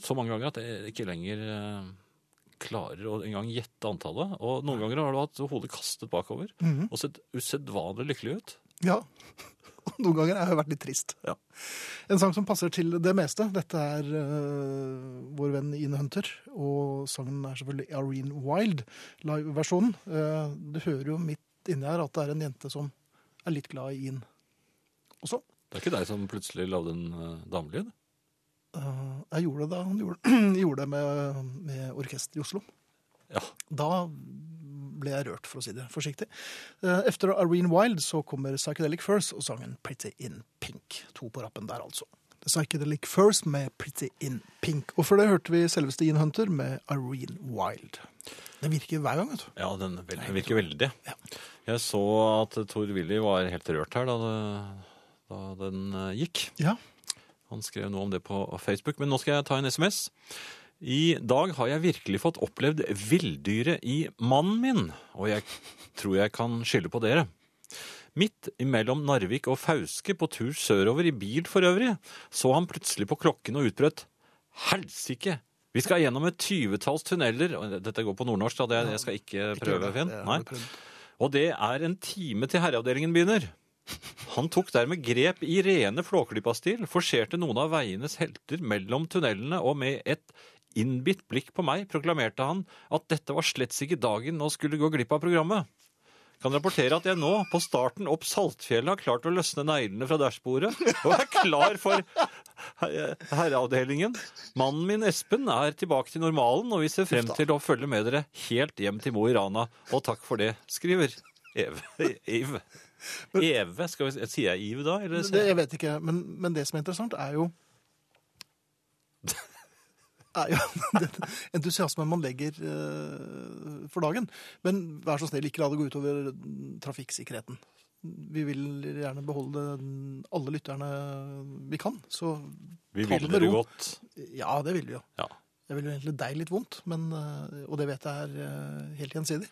C: så mange ganger at jeg ikke lenger eh, klarer å engang gjette antallet. Og noen ganger har du hatt hodet kastet bakover
B: Mhm.
C: og sett usedvanlig lykkelig ut.
B: Ja. Og Noen ganger har jeg vært litt trist.
C: Ja.
B: En sang som passer til det meste. Dette er eh, vår venn Ian Hunter, og sangen er selvfølgelig Irene Wild, liveversjonen. Eh, du hører jo midt inni her at det er en jente som er litt glad i Ian også.
C: Det er ikke deg som plutselig lagde en eh, damelyd?
B: Eh, jeg gjorde det da han gjorde, gjorde det med, med orkester i Oslo.
C: Ja.
B: Da ble jeg rørt, for å si det forsiktig. Eh, Efter Irene Wild så kommer Psychedelic Furs og sangen Pretty in Pink. To på rappen der, altså. Psychedelic Furs med Pretty in Pink. Og før det hørte vi selveste Ian Hunter med Irene Wild. Det virker hver gang, vet du.
C: Ja, den, vel- den virker veldig.
B: Ja.
C: Jeg så at Tor Willy var helt rørt her da, det, da den eh, gikk.
B: Ja.
C: Han skrev noe om det på Facebook, men nå skal jeg ta en SMS. I dag har jeg virkelig fått opplevd villdyret i mannen min, og jeg tror jeg kan skylde på dere. Midt imellom Narvik og Fauske, på tur sørover i bil for øvrig, så han plutselig på klokken og utbrøt Helsike! Vi skal gjennom et tyvetalls tunneler og Dette går på nordnorsk, da. Det, jeg skal ikke prøve, Finn.
B: Det har
C: Nei.
B: vi prøvd.
C: Og det er en time til herreavdelingen begynner. Han tok dermed grep i rene flåklypa-stil, forserte noen av veienes helter mellom tunnelene, og med et innbitt blikk på meg proklamerte han at dette var slett ikke dagen å skulle gå glipp av programmet. Kan rapportere at jeg nå, på starten opp Saltfjellet, har klart å løsne neglene fra dashbordet og er klar for her- herreavdelingen. Mannen min Espen er tilbake til normalen, og vi ser frem til å følge med dere helt hjem til Mo i Rana. Og takk for det, skriver Eve. Eve. Eve, skal vi, si- Sier jeg Ive da? Eller?
B: Men Det, jeg vet ikke, men, men det som er interessant er jo er jo den entusiasmen man legger eh, for dagen. Men vær så snill, ikke la det gå utover trafikksikkerheten. Vi vil gjerne beholde alle lytterne vi kan, så
C: Vi
B: ta
C: vil
B: det med
C: dere
B: ro.
C: godt.
B: Ja, det vil vi jo.
C: Ja.
B: Jeg vil jo egentlig deg litt vondt, men, eh, og det vet jeg er eh, helt gjensidig.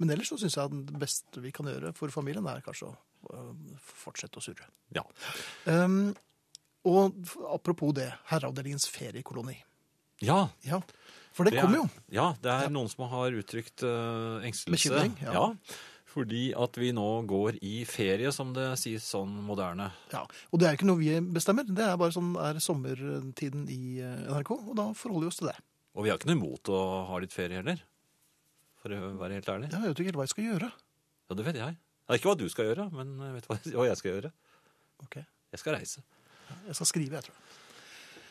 B: Men ellers så syns jeg at det beste vi kan gjøre for familien, er kanskje å eh, fortsette å surre.
C: Ja.
B: Um, og f- apropos det, herreavdelingens feriekoloni.
C: ja.
B: Ja, for det,
C: det
B: kommer
C: er-
B: jo.
C: Ja, det er noen som har uttrykt eh, engstelse.
B: Bekymring, ja.
C: Fordi at vi nå går i ferie, som det sies sånn moderne.
B: Ja. Og det er ikke noe vi bestemmer, det er bare sånn er sommertiden i eh, NRK, og da forholder vi oss til det.
C: Og vi har ikke noe imot å ha litt ferie heller. For å være helt ærlig. Ja,
B: Jeg vet jo ikke helt hva jeg skal gjøre.
C: det vet jeg. Det er ikke hva du skal gjøre, men jeg vet hva hva jeg skal gjøre.
B: Ok,
C: Jeg skal reise.
B: Jeg skal skrive, jeg tror.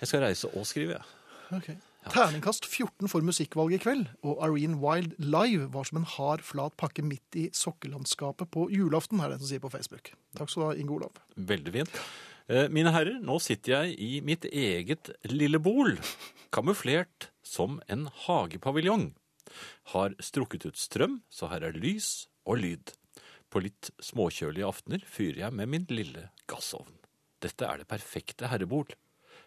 C: Jeg skal reise og skrive, jeg.
B: Ok. Terningkast 14 for musikkvalget i kveld, og Irene Wild live var som en hard, flat pakke midt i sokkelandskapet på julaften, er det en som sier på Facebook. Takk skal du ha, Inge Olav.
C: Veldig fint. Eh, Mine herrer, nå sitter jeg i mitt eget lille bol, kamuflert som en hagepaviljong. Har strukket ut strøm, så her er lys og lyd. På litt småkjølige aftener fyrer jeg med min lille gassovn. Dette er det perfekte herrebol.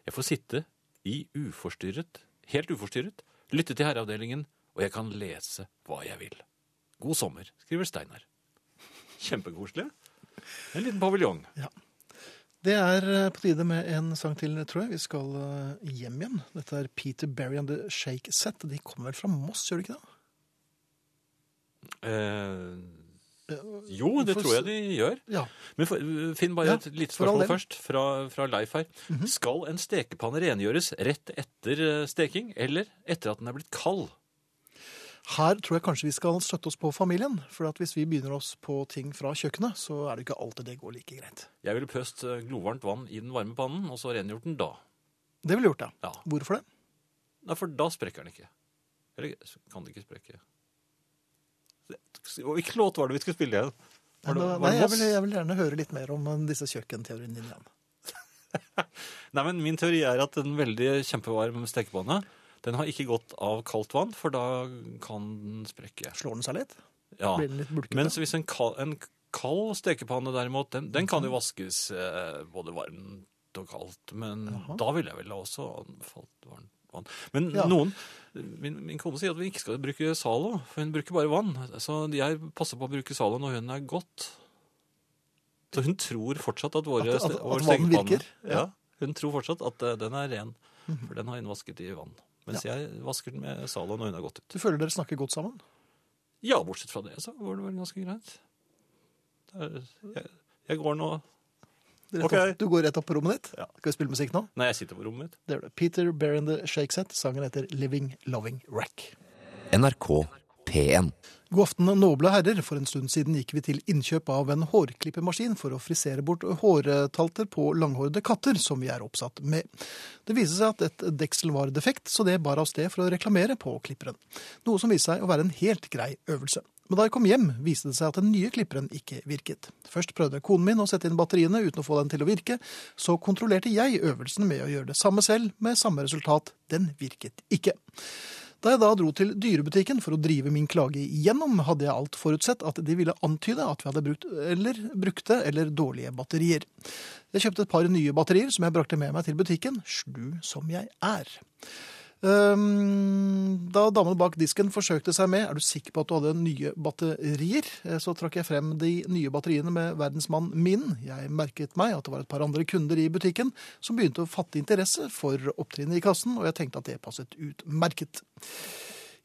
C: Jeg får sitte i uforstyrret, helt uforstyrret, lytte til herreavdelingen, og jeg kan lese hva jeg vil. God sommer, skriver Steinar. Kjempekoselig. En liten paviljong.
B: Det er eh, på tide med en sang til, tror jeg. Vi skal eh, hjem igjen. Dette er Peter Berry and The Shake Set. De kommer vel fra Moss, gjør de ikke det?
C: Eh, jo, det
B: for-
C: tror jeg de gjør.
B: Ja.
C: Men for, Finn, bare
B: Ja,
C: et lite
B: for all del.
C: spørsmål
B: Mhm.
C: først, fra, fra Leif her. Skal en stekepanne rengjøres rett etter eh, steking, eller etter at den er blitt kald?
B: Her tror jeg kanskje vi skal støtte oss på familien. For at hvis vi begynner oss på ting fra kjøkkenet, så er det ikke alltid det går like greit.
C: Jeg ville pøst eh, glovarmt vann i den varme pannen, og så rengjort den da.
B: Det ville gjort det.
C: Ja.
B: Hvorfor det?
C: Nei, for da sprekker den ikke. Eller kan den ikke sprekke? Det- Hvilken låt var det vi skulle spille igjen?
B: Men
C: Var det-
B: da-
C: var
B: Nei,
C: det
B: jeg
C: Moss?
B: vil, jeg vil gjerne høre litt mer om eh, disse kjøkkenteoriene dine igjen.
C: Nei, men Min teori er at en veldig kjempevarm stekepanne den har ikke godt av kaldt vann, for da kan den sprekke.
B: Slår den seg litt?
C: Ja.
B: Blir den litt bulkete?
C: Mens hvis en kald, en kald stekepanne derimot, den, den kan jo vaskes eh, både varmt og kaldt. Men da ville jeg vel også anbefalt varmt. vann. Men
B: Ja.
C: noen min, min kone sier at vi ikke skal bruke Zalo, for hun bruker bare vann. Så jeg passer på å bruke Zalo når hun er godt. Så hun tror fortsatt at våre
B: At- at-
C: ste-
B: at
C: vår
B: vann
C: stekepanne-
B: virker? Mhm.
C: Ja. Hun tror fortsatt at eh, den er ren, for den har hun vasket i vann. Mens jeg vasker den med Zalo når hun har gått ut.
B: Du føler dere snakker godt sammen?
C: Ja, bortsett fra det, så var det vel ganske greit. Det er- Jeg, jeg går nå
B: Rett
C: Ok.
B: opp, du går rett opp på rommet ditt?
C: Ja.
B: Skal vi spille musikk nå?
C: Nei, jeg sitter på rommet mitt.
B: Det gjør du. Peter Bear and the Shakeset. Sangen heter Living Loving Rack.
F: NRK P1.
B: God aften, noble herrer. For en stund siden gikk vi til innkjøp av en hårklippemaskin for å frisere bort hårtalter på langhårede katter, som vi er oppsatt med. Det viste seg at et deksel var defekt, så det bar av sted for å reklamere på klipperen. Noe som viste seg å være en helt grei øvelse. Men da jeg kom hjem, viste det seg at den nye klipperen ikke virket. Først prøvde konen min å sette inn batteriene uten å få den til å virke. Så kontrollerte jeg øvelsen med å gjøre det samme selv, med samme resultat. Den virket ikke. Da jeg da dro til dyrebutikken for å drive min klage igjennom, hadde jeg alt forutsett at de ville antyde at vi hadde brukt eller brukte eller dårlige batterier. Jeg kjøpte et par nye batterier som jeg brakte med meg til butikken, slu som jeg er. Ehm, Da damen bak disken forsøkte seg med 'er du sikker på at du hadde nye batterier', Eh, så trakk jeg frem de nye batteriene med verdensmann min. Jeg merket meg at det var et par andre kunder i butikken som begynte å fatte interesse for opptrinnet i kassen, og jeg tenkte at det passet utmerket.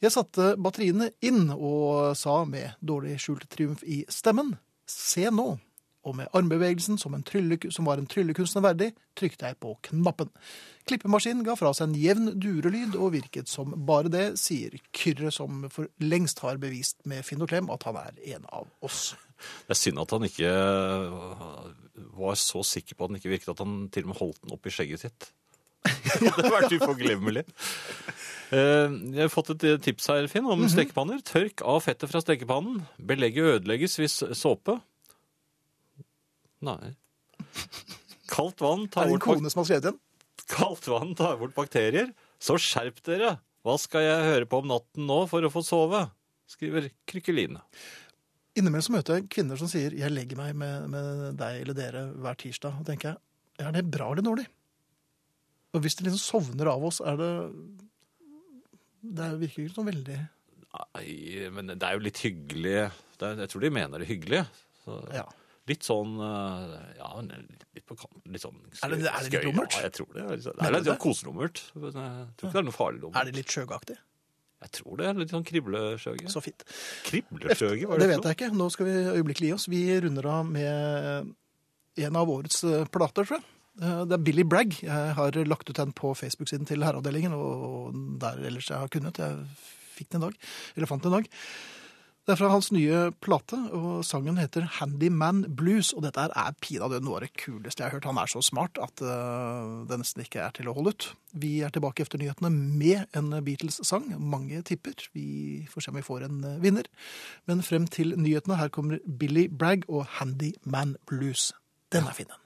B: Jeg satte batteriene inn og sa med dårlig skjult triumf i stemmen 'se nå'. Og med armbevegelsen som, en trylle, som var en tryllekunstner verdig, trykte jeg på knappen. Klippemaskinen ga fra seg en jevn durelyd og virket som bare det, sier Kyrre, som for lengst har bevist med Finn og Klem at han er en av oss.
C: Det er synd at han ikke øh, var så sikker på at den ikke virket, at han til og med holdt den opp i skjegget sitt. det hadde vært uforglemmelig. Eh, Jeg har fått et tips her, Finn, om stekepanner. Tørk av fettet fra stekepannen. Belegget ødelegges hvis såpe Nei. Kaldt vann
B: Er
C: tar
B: det en
C: bort, bak
B: kone som har skrevet den?
C: Kaldt vann tar bort bakterier. Så skjerp dere! Hva skal jeg høre på om natten nå for å få sove? Skriver Krykkeline.
B: Innimellom så møter jeg kvinner som sier 'jeg legger meg med, med deg eller dere hver tirsdag'. Og tenker jeg, er det bra eller dårlig? Og hvis de liksom sovner av oss, er det Det virker ikke som veldig
C: Nei, men det er jo litt hyggelig. Det er, jeg tror de mener det hyggelig. Så,
B: Ja.
C: Litt sånn eh, Ja, litt på kanten. Litt sånn skøy,
B: Er det- er det litt
C: skøy-
B: dummert?
C: Ja, jeg tror det. Litt sånn-
B: Mener
C: det er litt
B: du
C: sånn koselummert. men Jeg tror ikke det er noe farlig dummert.
B: Er det litt skjøgeaktig?
C: Jeg tror det. er Litt sånn kriblesjøge.
B: Så fint.
C: Kriblesjøge, hva er
B: Det
C: det
B: vet jeg ikke. Nå skal vi øyeblikkelig gi oss. Vi runder av med en av årets eh, plater, tror jeg. Eh, Det er Billy Bragg. Jeg har lagt ut den på Facebook-siden til Herreavdelingen, og der ellers jeg har kunnet. Jeg fikk den i dag, eller fant den i dag. Det er fra hans nye plate, og sangen heter Handyman Blues. Og dette her er pinadø noe av det kuleste jeg har hørt. Han er så smart at eh, det nesten ikke er til å holde ut. Vi er tilbake efter nyhetene med en Beatles-sang. Mange tipper. Vi får se om vi får en eh, vinner. Men frem til nyhetene, her kommer Billy Bragg og Handyman Blues. Den er fin, den.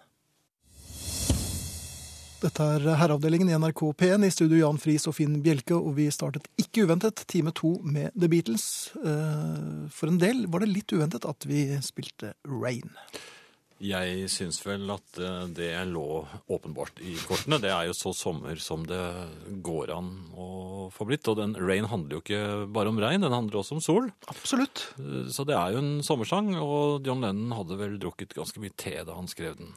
B: Dette er Herreavdelingen i NRK P1 i studio Jan Friis og Finn Bjelke, og vi startet ikke uventet time to med The Beatles. Eh, For en del var det litt uventet at vi spilte Rain.
C: Jeg syns vel at eh, det lå åpenbart i kortene. Det er jo så sommer som det går an å få blitt. Og den Rain handler jo ikke bare om regn, den handler også om sol.
B: Absolutt.
C: Eh, Så det er jo en sommersang, og John Lennon hadde vel drukket ganske mye te da han skrev den.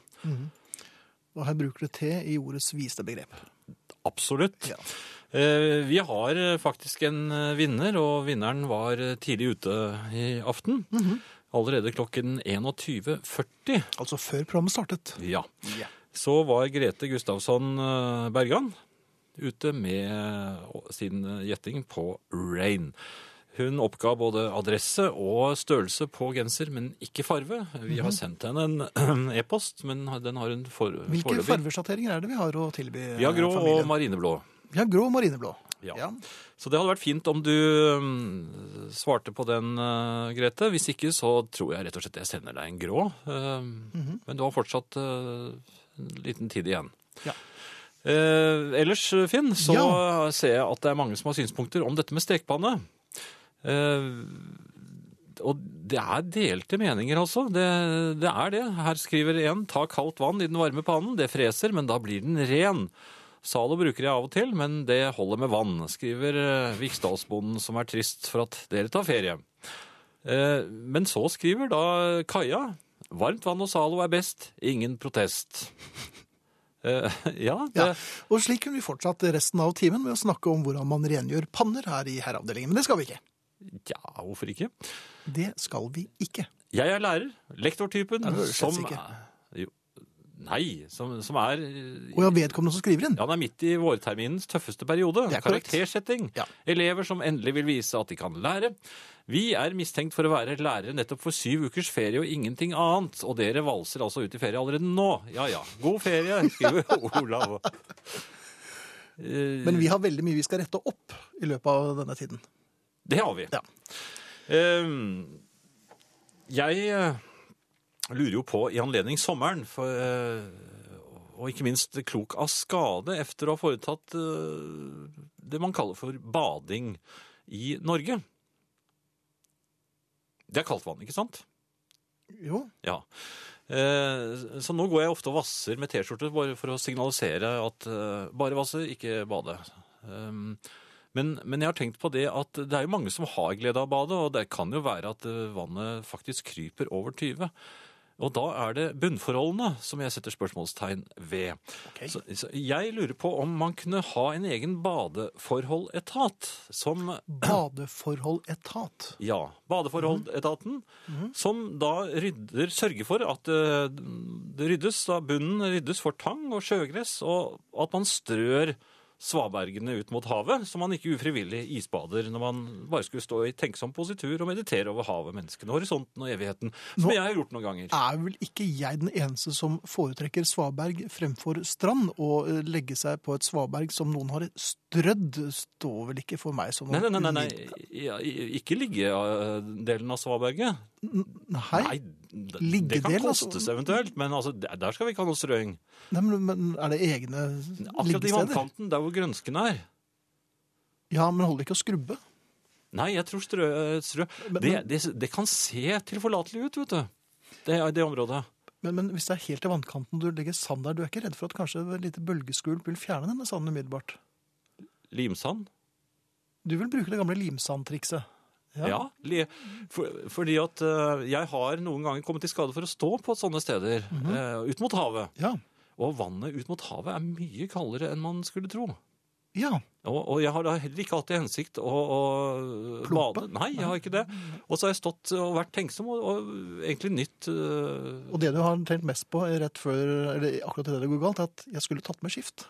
B: Og her bruker det te i ordets viste begrep.
C: Absolutt.
B: Ja.
C: Eh, Vi har eh, faktisk en eh, vinner, og vinneren var eh, tidlig ute i aften.
B: Mhm.
C: Allerede klokken 21.40.
B: Altså før programmet startet.
C: Ja. Så var Grete Gustavsson eh, Bergan ute med eh, sin eh, gjetting på Rain. Hun oppga både adresse og størrelse på genser, men ikke farve. Vi har sendt henne en e-post, men den har hun for,
B: Hvilke
C: foreløpig.
B: farvesjatteringer er det vi har å tilby eh,
C: Vi har grå
B: familien?
C: og marineblå.
B: Vi har grå og marineblå.
C: Ja.
B: Ja.
C: Så det hadde vært fint om du mm, svarte på den, eh, Grete. Hvis ikke, så tror jeg rett og slett jeg sender deg en grå. Eh,
B: Mhm.
C: Men du har fortsatt eh, en liten tid igjen.
B: Ja.
C: Eh, ellers, Finn, så
B: Ja.
C: ser jeg at det er mange som har synspunkter om dette med stekepanne. Eh, og det er delte meninger, altså. Det, det er det. Her skriver en 'ta kaldt vann i den varme pannen'. Det freser, men da blir den ren. Zalo bruker jeg av og til, men det holder med vann, skriver eh, Viksdalsbonden, som er trist for at dere tar ferie. Eh, Men så skriver da Kaja varmt vann og Zalo er best, ingen protest. Eh, Ja, det,
B: Ja. Og slik kunne vi fortsatt resten av timen med å snakke om hvordan man rengjør panner her i herreavdelingen. Men det skal vi ikke.
C: ja, hvorfor ikke?
B: Det skal vi ikke.
C: Jeg er lærer, lektortypen,
B: Nei, det høres
C: som
B: ikke.
C: Jo, Nei, som, som er eh,
B: Og jeg har vedkommende som skriver inn.
C: Ja, Han er midt i vårterminens tøffeste periode.
B: Det er korrekt.
C: Karaktersetting.
B: Ja.
C: Elever som endelig vil vise at de kan lære. Vi er mistenkt for å være lærere nettopp for syv ukers ferie og ingenting annet. Og dere valser altså ut i ferie allerede nå. Ja ja. God ferie, skriver Olav. Eh,
B: Men vi har veldig mye vi skal rette opp i løpet av denne tiden.
C: Det har vi.
B: Ja.
C: Ehm, jeg eh, lurer jo på, i anledning sommeren, for, eh, og ikke minst klok av skade efter å ha foretatt eh, det man kaller for bading i Norge. Det er kaldt vann, ikke sant?
B: Jo,
C: Ja. Eh, Så nå går jeg ofte og vasser med T-skjorte bare for å signalisere at eh, bare vasse, ikke bade. Um, Men, men jeg har tenkt på det at det er jo mange som har glede av å bade, og det kan jo være at eh, vannet faktisk kryper over 20. Og da er det bunnforholdene som jeg setter spørsmålstegn ved.
B: Ok.
C: Så, så jeg lurer på om man kunne ha en egen badeforholdetat som
B: badeforholdetat.
C: ja.
B: Mhm.
C: Badeforholdetaten, som da rydder, sørger for at eh, det ryddes, da bunnen ryddes for tang og sjøgress, og at man strør svabergene ut mot havet, så man ikke ufrivillig isbader når man bare skulle stå i tenksom positur og meditere over havet, menneskene, horisonten og evigheten, som
B: Nå- Ah,
C: jeg har gjort noen ganger.
B: Er vel ikke jeg den eneste som foretrekker svaberg fremfor strand, og eh, legge seg på et svaberg som noen har strødd, står vel ikke for meg som
C: Nei,
B: noen
C: nei, nei, nei, nei. Ja, i- ikke liggedelen av svaberget.
B: Nei,
C: Nei, d- det kan
B: Liggedelen, altså.
C: kostes eventuelt, men altså, der der skal vi ikke ha noe strøing.
B: Nei, men, men er det egne
C: Akkurat i
B: liggesteder?
C: vannkanten, der hvor grønsken er.
B: Ja, men holder det ikke å skrubbe?
C: Nei, jeg tror strø, eh, strø.
B: Men-
C: det, det, det kan se tilforlatelig ut, vet du. Det, det området.
B: Men, men hvis det er helt til vannkanten du legger sand der, du er ikke redd for at kanskje et lite bølgeskvulp vil fjerne denne sanden umiddelbart?
C: Limsand.
B: Du vil bruke det gamle limsandtrikset.
C: Ja. li- for, fordi at eh, jeg har noen ganger kommet i skade for å stå på sånne steder.
B: Mhm.
C: eh, ut mot havet.
B: Ja.
C: Og vannet ut mot havet er mye kaldere enn man skulle tro.
B: Ja.
C: Og, og jeg har da heller ikke hatt til hensikt å, å
B: Plumpe?
C: bade. Nei, jeg har ikke det. Og så har jeg stått og vært tenksom, og, og egentlig nytt eh,
B: Og det du har tenkt mest på er rett før, eller akkurat idet det går galt, er at jeg skulle tatt med skift.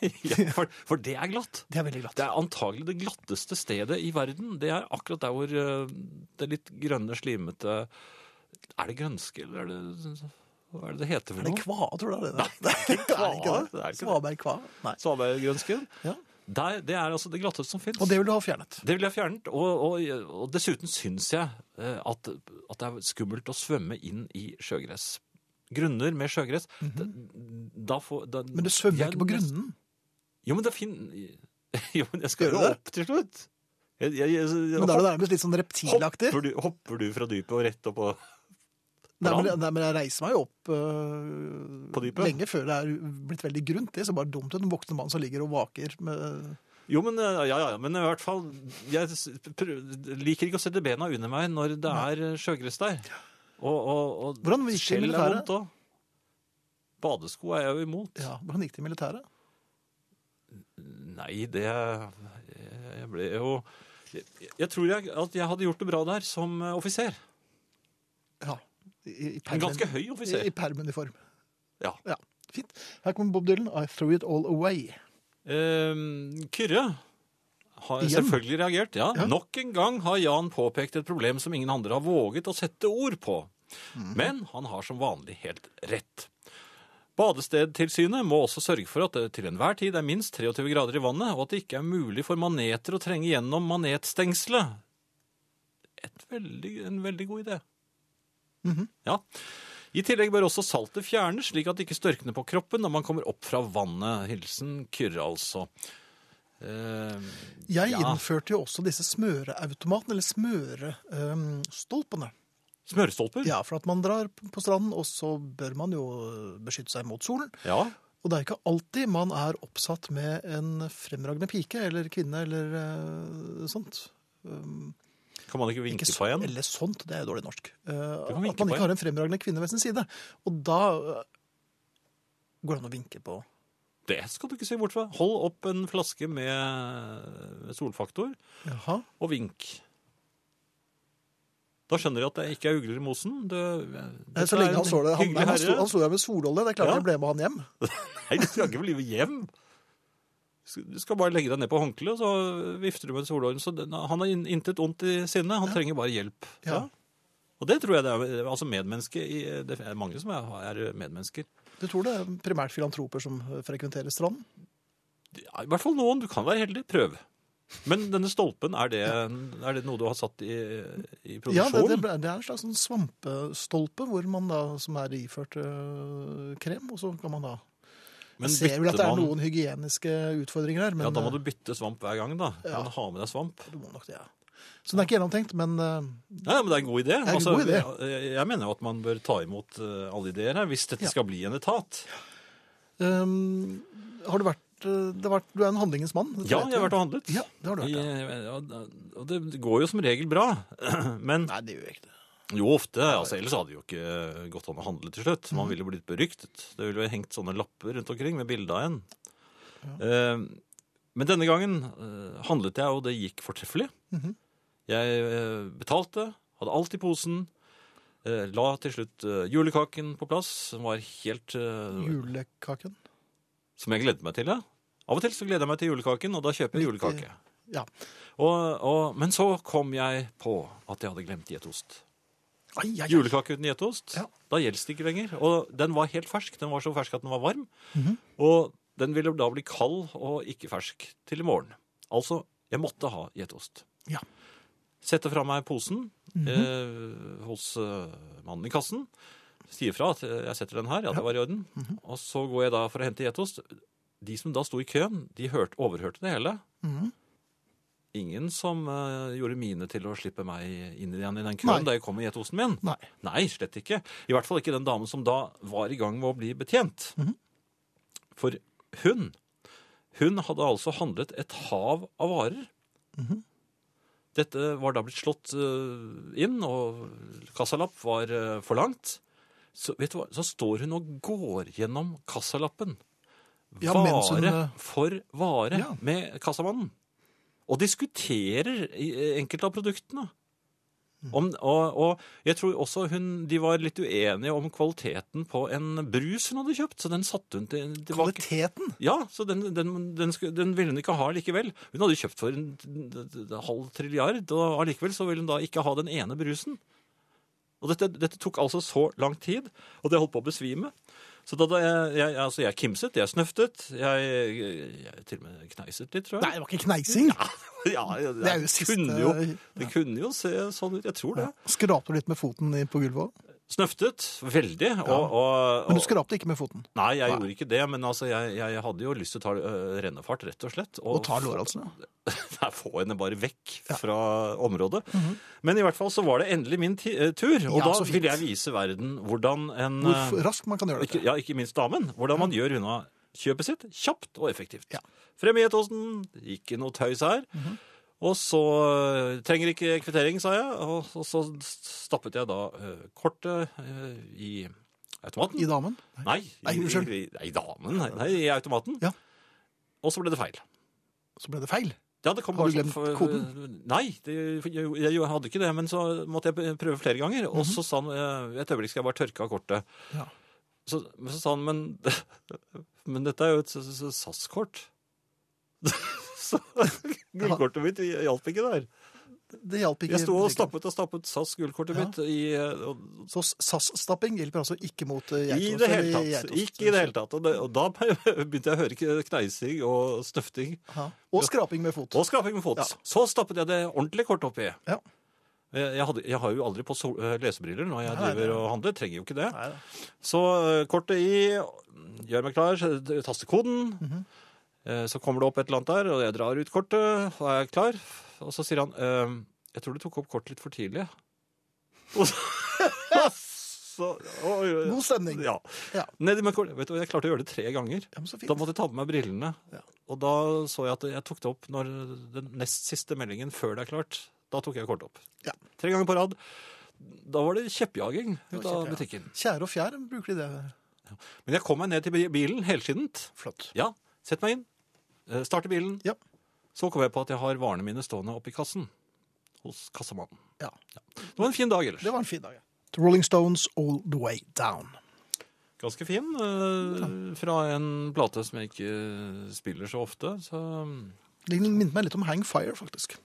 C: ja, for, for det er glatt.
B: Det er veldig glatt.
C: Det er antagelig det glatteste stedet i verden. Det er akkurat der hvor eh, det litt grønne, slimete Er det grønske, eller er det Hva er det det heter
B: Er
C: for
B: det
C: noe?
B: kva, tror du? Det er det? Nei, det er ikke
C: kva.
B: det.
C: Det er ikke det.
B: Svaberg kva. Nei.
C: Svaberggrønsken?
B: Ja.
C: Der, det er altså det glatteste som fins.
B: Og det vil du ha fjernet.
C: Det vil jeg fjernet, og, og, og dessuten syns jeg eh, at, at det er skummelt å svømme inn i sjøgress. Grunner med sjøgress. da, da får, da,
B: Mhm. Men du svømmer
C: jeg
B: ikke på
C: nest-
B: grunnen.
C: Jo, men det er fin... Jo, men jeg skal
B: Gjør
C: jo
B: du det?
C: opp til slutt. Jeg, jeg, jeg, jeg,
B: Men da er det nærmest litt sånn reptilaktig.
C: Hopper du, hopper du fra dypet og rett opp og
B: Nei, men,
C: Hvordan?
B: nei, men jeg reiser meg jo opp øh,
C: På dypet?
B: lenge før det er blitt veldig grunt. Det ser bare dumt ut. En voksen mann som ligger og vaker med
C: Jo, men, eh, ja, ja, ja, men i hvert fall Jeg s- prø- liker ikke å sette bena under meg når det er eh, sjøgress der. Og, og, og
B: Hvordan gikk det i
C: skjell er
B: militæret?
C: vondt òg. Badesko er jeg jo imot.
B: Ja, Hvordan gikk det i militæret?
C: Nei, det Jeg ble jo Jeg, jeg tror jeg, at jeg hadde gjort det bra der som eh, offiser.
B: Ja. I, i
C: En
B: permen-
C: ganske høy
B: I,
C: offiser.
B: i permuniform.
C: Ja.
B: Ja, fint. Her kommer Bob Dylan, I threw it all away.
C: Ehm, Kyrre har
B: Igjen?
C: selvfølgelig reagert. Ja.
B: Ja.
C: Nok en gang har Jan påpekt et problem som ingen andre har våget å sette ord på. Men han har som vanlig helt rett. Badestedtilsynet må også sørge for at det til enhver tid er minst 23 grader i vannet, og at det ikke er mulig for maneter å trenge gjennom manetstengselet. Et veldig, en veldig god idé.
B: Mhm.
C: Ja. I tillegg bør også saltet fjernes, slik at det ikke størkner på kroppen når man kommer opp fra vannet. Hilsen Kyrre, altså. Eh,
B: Jeg
C: Ja.
B: innførte jo også disse smøreautomatene, eller smørestolpene.
C: smørstolper?
B: Ja, for at man drar på stranden, og så bør man jo beskytte seg mot solen.
C: Ja.
B: Og det er ikke alltid man er oppsatt med en fremragende pike eller kvinne eller eh, sånt. Um,
C: Kan man ikke vinke
B: ikke
C: på
B: sånn,
C: igjen?
B: eller sånt, det er jo dårlig norsk. Eh, at man
C: vinke på
B: ikke
C: en.
B: har en fremragende kvinne ved sin side. Og da eh, går det an å vinke på
C: Det skal du ikke se bort fra. Hold opp en flaske med solfaktor
B: Jaha.
C: og vink. Da skjønner de at det ikke er ugler i mosen. Det,
B: Eh,
C: dette
B: Så
C: er
B: lenge han
C: en
B: så det. Han,
C: hyggelig
B: han, slo-
C: herre.
B: han slo deg med sololje. Det er klart
C: Ja.
B: jeg ble med han hjem.
C: Nei, du skal ikke bli med hjem. Du skal bare legge deg ned på håndkleet, og så vifter du med solhåren. Så den- han har in- intet ondt i sinnet, han trenger bare hjelp.
B: Ja.
C: Og det tror jeg det er altså medmenneske i, Det er mange som er, er medmennesker.
B: Du tror det er primært filantroper som eh, frekventerer stranden?
C: Ja, I hvert fall noen. Du kan være heldig. Prøv. Men denne stolpen, er det, er det noe du har satt i, i produksjon?
B: Ja, det, det, ble- det er en slags sånn svampestolpe hvor man da, som er iført øh, krem, og så kan man da
C: Men
B: Jeg ser vel at det er
C: bytter man-
B: noen hygieniske utfordringer her, men
C: Ja, da må
B: øh,
C: du bytte svamp hver gang, da. Du
B: Ja.
C: kan ha med deg svamp.
B: du må nok det, ja. Så den er ikke gjennomtenkt, men øh,
C: Nei, men det er en god idé. Altså,
B: en god idé.
C: Jeg, jeg mener jo at man bør ta imot eh, alle ideer her, hvis dette
B: Ja.
C: skal bli en etat.
B: øhm, har du vært, øh, det har vært Du er en handlingens mann? dette
C: Ja,
B: vet
C: jeg har
B: du.
C: vært og handlet.
B: Ja, det har du vært, ja.
C: I- ja, og det går jo som regel bra. Men
B: Nei, det gjør jeg ikke. det.
C: jo ofte. altså Ellers hadde det jo ikke gått an å handle til slutt.
B: Mm.
C: Man ville blitt beryktet. Det ville jo hengt sånne lapper rundt omkring med bilde av en. Eh, Men denne gangen eh, handlet jeg, og det gikk fortreffelig.
B: Mm-hmm.
C: Jeg eh, betalte, hadde alt i posen. eh, La til slutt eh, julekaken på plass, som var helt eh,
B: Julekaken?
C: Som jeg gledet meg til, ja. Av og til så gleder jeg meg til julekaken, og da kjøper jeg julekake.
B: Ja.
C: Og, og, men så kom jeg på at jeg hadde glemt gjetost.
B: Ai, ai, ai.
C: Julekake uten gjetost,
B: Ja.
C: da gjelder det ikke lenger. Og den var helt fersk. Den var så fersk at den var varm.
B: Mhm.
C: Og den ville da bli kald og ikke fersk til i morgen. Altså, jeg måtte ha gjetost.
B: Ja. Mhm.
C: Sette fra meg posen eh, hos eh, mannen i kassen. Sier fra at eh, jeg setter den her, ja, det var i orden.
B: Mhm.
C: Og så går jeg da for å hente gjetost. De som da sto i køen, de hørte, overhørte det hele.
B: Mhm.
C: Ingen som eh, gjorde mine til å slippe meg inn igjen i den køen
B: Nei.
C: da jeg kom med gjetosten min.
B: Nei.
C: Nei, slett ikke. I hvert fall ikke den damen som da var i gang med å bli betjent.
B: Mhm.
C: For hun Hun hadde altså handlet et hav av varer.
B: Mhm.
C: Dette var da blitt slått eh, inn, og kassalapp var eh, forlangt. Så, vet du hva? så står hun og går gjennom kassalappen.
B: Ja, mens hun,
C: vare
B: eh,
C: for vare
B: Ja.
C: med kassamannen. Og diskuterer i- eh, enkelte av produktene. Om, og, og jeg tror også hun, de var litt uenige om kvaliteten på en brus hun hadde kjøpt, så den satte hun til, tilbake.
B: Kvaliteten?
C: Ja, så den, den, den, skulle, den ville hun ikke ha likevel. Hun hadde jo kjøpt for en, halv trilliard, og allikevel så ville hun da ikke ha den ene brusen. Og dette, dette tok altså så lang tid, og det holdt på å besvime. Så da, da jeg, jeg, altså jeg kimset, jeg snøftet, jeg, jeg, jeg til og med kneiset litt, tror jeg.
B: Nei, det var ikke kneising.
C: ja, det,
B: Det er jo siste-
C: kunne jo, det kunne jo se sånn ut, jeg tror det.
B: Skrapte du litt med foten i- på gulvet òg?
C: Snøftet veldig, og, og,
B: Men du
C: og
B: skrapte ikke med foten?
C: Nei, jeg gjorde ikke det, men altså, jeg, jeg hadde jo lyst til å ta øh, rennefart, rett og slett.
B: Og tar altså. lårhalsen, ja.
C: Nei, få henne bare vekk fra området. Men i hvert fall så var det endelig min ti eh, tur, og
B: Mhm. Ja,
C: da
B: så fint.
C: ville jeg vise verden hvordan en eh,
B: Hvor raskt man kan gjøre
C: ikke,
B: dette.
C: Ja, ikke minst damen. Hvordan man gjør unna kjøpet sitt kjapt og effektivt.
B: Ja. Mhm.
C: Frem i etosen, ikke noe tøys her. Og så eh, trenger ikke kvittering, sa jeg, og, og så stappet jeg da eh, kortet eh, i automaten.
B: I damen?
C: Nei,
B: Nei,
C: i-
B: unnskyld.
C: i- Nei, i damen. Nei, nei, i automaten.
B: Ja.
C: Og så ble det feil.
B: Så ble det feil.
C: Ja, det kom
B: Har du
C: bare
B: glemt
C: sånn-
B: koden?
C: Nei, det, jeg, jeg hadde ikke det, men så måtte jeg prøve flere ganger. Og så sa han eh, et øyeblikk skal jeg bare tørke av kortet.
B: Mhm. Ja.
C: Så, men så sa han men, men dette er jo et s- s- SAS-kort. Så gullkortet mitt hjalp ikke der.
B: Det hjalp ikke.
C: Jeg sto og stappet og stappet SAS-gullkortet
B: Ja.
C: mitt i, eh, og
B: Så SAS-stapping hjelper altså ikke mot eh,
C: I
B: geitost?
C: det hele
B: eller
C: tatt.
B: geitost.
C: Ikke i det hele tatt. Og, det, og da begynte jeg å høre k- kneising og snøfting
B: Ja. Og skraping med fot.
C: og skraping med fot.
B: Ja.
C: Så stappet jeg det ordentlige kortet oppi.
B: Ja.
C: Jeg, jeg, hadde, jeg har jo aldri på sol, eh, lesebriller når jeg
B: Nei,
C: driver
B: det-
C: og handler. Trenger jo ikke det.
B: Nei da.
C: Så eh, kortet i, gjør meg klar, så taster koden.
B: Mhm.
C: Eh, Så kommer det opp et eller annet der, og jeg drar ut kortet, og er klar. Og så eh, sier han «Ehm, Jeg tror du tok opp kortet litt for tidlig. Og så, så oi, oi, oi.
B: God stemning.
C: Ja.
B: Ja.
C: Nedi med kål- vet du, hva, jeg klarte å gjøre det tre ganger.
B: Ja, men så fint.
C: Da måtte jeg ta på meg brillene.
B: Ja.
C: Og da så jeg at jeg tok det opp når den nest siste meldingen før det er klart. Da tok jeg kortet opp.
B: Ja.
C: Tre ganger på rad. Da var det kjeppjaging
B: Det var
C: ut av
B: kjempe-
C: butikken.
B: Kjære og fjær bruker de det.
C: Men jeg kom meg ned til bi- bilen helskittent.
B: Flott.
C: Ja, sett meg inn. Eh, Starte bilen.
B: Ja.
C: Så kom jeg på at jeg har varene mine stående oppi kassen hos kassamannen.
B: Ja.
C: Det var en fin dag ellers.
B: Det var en fin dag, ja. The Rolling Stones All The Way Down.
C: Ganske fin. eh, Fra en plate som jeg ikke eh, spiller så ofte. Så
B: Det minnet meg litt om Hang Fire, faktisk.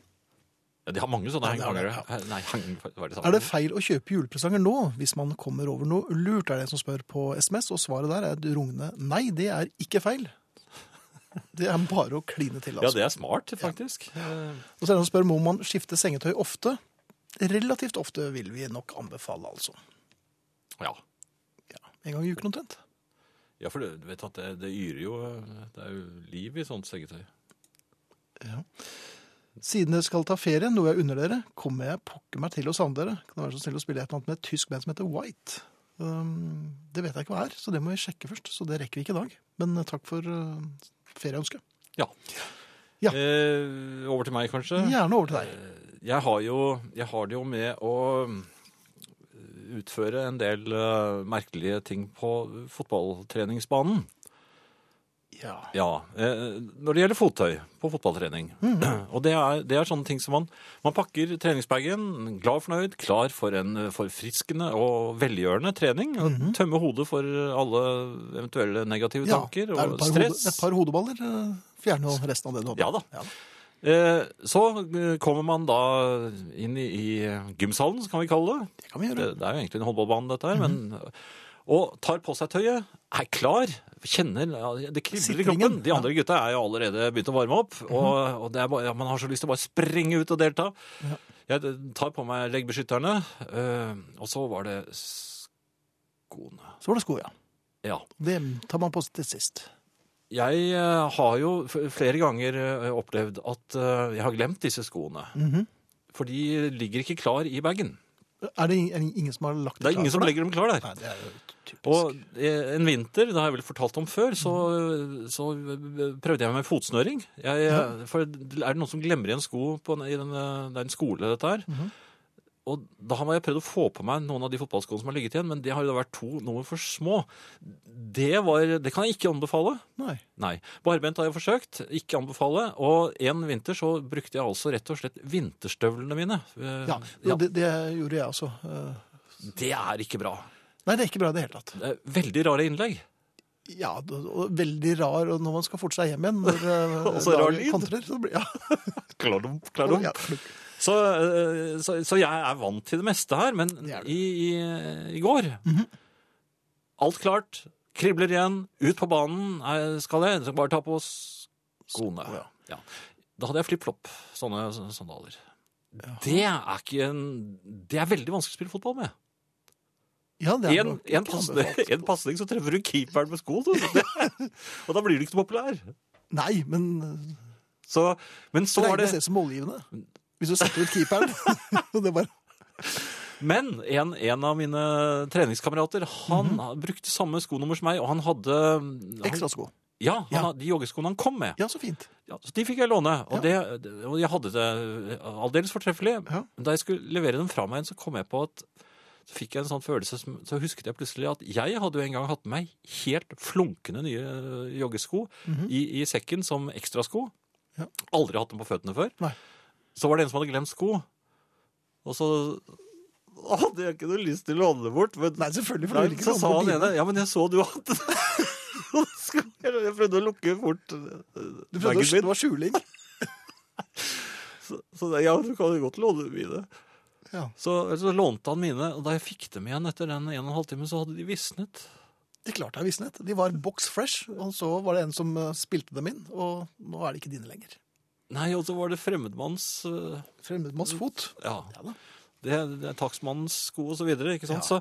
C: ja, De har mange sånne
B: Ja, det har de,
C: hengangere. Nei, hang, hva er det
B: Er det feil å kjøpe julepresanger nå hvis man kommer over noe lurt, er det en som spør på SMS, og svaret der er et rungende nei, det er ikke feil. Det er bare å kline til,
C: Ja,
B: altså.
C: det er smart, faktisk. Eh,
B: Og så er det en som spør om man skifter sengetøy ofte. Relativt ofte vil vi nok anbefale, altså.
C: Ja.
B: En gang i uken omtrent.
C: ja, for du vet at det, det yrer jo eh, Det er jo liv i sånt sengetøy.
B: Siden dere skal ta ferie, noe jeg unner dere, kommer jeg pokker meg til å savne dere. Kan det være så snill å spille et eller annet med et tysk band som heter White? Um, det vet jeg ikke hva er, så det må vi sjekke først. Så det rekker vi ikke i dag. Men eh, takk for uh, ferieønsket.
C: Ja.
B: Ja.
C: Eh, over til meg, kanskje.
B: Gjerne over til deg.
C: Jeg har, jo, jeg har det jo med å utføre en del eh, merkelige ting på fotballtreningsbanen.
B: Ja.
C: Ja, eh, når det gjelder fottøy på fotballtrening.
B: Mm.
C: Og det er, det er sånne ting som man Man pakker treningsbagen, glad fornøyd, klar for en eh, forfriskende og velgjørende trening. og Tømme hodet for alle eventuelle negative
B: Mhm. Ja,
C: tanker
B: er det et
C: og
B: par
C: stress.
B: Hode, et par hodeballer eh, fjerner jo resten av det du hadde.
C: Ja da. Eh, Så eh, kommer man da inn i, i gymsalen, kan vi kalle det.
B: Det kan vi
C: Det,
B: gjøre.
C: det er jo egentlig en håndballbane, dette her. men, og tar på seg tøyet, er klar, kjenner ja, Det kribler i
B: Sitringen,
C: kroppen. De andre gutta er jo allerede begynt å varme opp. Og, og det er bare, ja, man har så lyst til å bare sprenge ut og delta. Jeg eh, tar på meg leggbeskytterne, eh, og så var det skoene.
B: Så var det sko, ja.
C: Ja.
B: Det tar man på til sist.
C: Jeg eh, har jo f- flere ganger eh, opplevd at eh, jeg har glemt disse skoene.
B: Mhm.
C: For de ligger ikke klar i bagen.
B: Er det ing- er det ingen som har lagt
C: Det er
B: klar
C: ingen
B: for
C: som
B: deg?
C: legger dem klar der.
B: Nei, det er jo typisk.
C: Og eh, en vinter, det har jeg vel fortalt om før, så, så prøvde jeg meg med fotsnøring. Jeg, For er det noen som glemmer igjen sko på en, i den, eh, det er en skole, dette her.
B: Mhm.
C: Og da har jeg prøvd å få på meg noen av de fotballskoene som har ligget igjen, men det har jo da vært to noe for små. Det, var, det kan jeg ikke anbefale.
B: Nei.
C: Nei. Barbent har jeg forsøkt, ikke anbefale. Og en vinter så brukte jeg altså rett og slett vinterstøvlene mine. Eh,
B: Ja,
C: ja,
B: Det, det gjorde jeg også. Eh,
C: det er ikke bra.
B: Nei, det er ikke bra i det hele tatt.
C: Det er veldig rare innlegg.
B: Ja, det- og veldig rar og når man skal forte seg hjem igjen. Når, eh,
C: Og så rar
B: dagen
C: lyd.
B: Kontrer, så blir, ja.
C: Kladum, kladum.
B: ja.
C: Så, eh, så, så jeg er vant til det meste her, men
B: Det er du. Mhm.
C: i, i, i går Alt klart, kribler igjen, ut på banen er- skal jeg. Så bare ta på skoene.
B: Sko, ja.
C: Ja. Da hadde jeg flip-flop, sånne sånne sandaler. Det er ikke en Det er veldig vanskelig å spille fotball med.
B: ja, det er
C: En,
B: nok
C: en,
B: ikke
C: pasning,
B: anbefalt.
C: en pasning, så treffer du keeperen med sko. Så det, og da blir du ikke så populær.
B: Nei, men
C: Så, men så
B: det
C: var det
B: regnes det som målgivende. Hvis du setter ut keeperen. og det er bare,
C: Men en, en av mine treningskamerater han brukte samme skonummer som meg, og han hadde han,
B: Mhm. ekstra sko.
C: Ja, han,
B: Ja.
C: hadde- de joggeskoene han kom med.
B: Ja, så fint.
C: Ja, så de fikk jeg låne, og, det, og jeg hadde det eh, aldeles fortreffelig.
B: Ja.
C: Men Da jeg skulle levere dem fra meg, så kom jeg på at så fikk jeg en sånn følelse, som, så husket jeg plutselig at jeg hadde jo en gang hatt med meg helt flunkende nye øh, joggesko i, i sekken som ekstrasko.
B: Mhm. Ja.
C: Aldri hatt dem på føttene før.
B: Nei.
C: Så var det en som hadde glemt sko, og så Å, det hadde jeg ikke noe lyst til å låne det bort, men
B: Nei, selvfølgelig. For
C: Nei,
B: du vil ikke
C: så
B: komme
C: sa
B: på
C: han
B: dine.
C: ene, ja, men jeg så du hadde Og så skulle jeg, jeg prøvde å lukke fort eh,
B: Du prøvde å
C: bagen
B: det
C: min.
B: var skjuling.
C: Så, så det, ja, du kan jo godt låne mine.
B: Ja.
C: Så, så lånte han mine, og da jeg fikk dem igjen etter den en og en halv time, så hadde de visnet.
B: Det klarte jeg visnet. De var box fresh, og så var det en som eh, spilte dem inn. Og nå er det ikke dine lenger.
C: Nei, og så var det fremmedmanns eh,
B: Fremmed med oss fot.
C: Ja,
B: Ja da.
C: det, det er takstmannens sko og så videre, ikke sant? Så,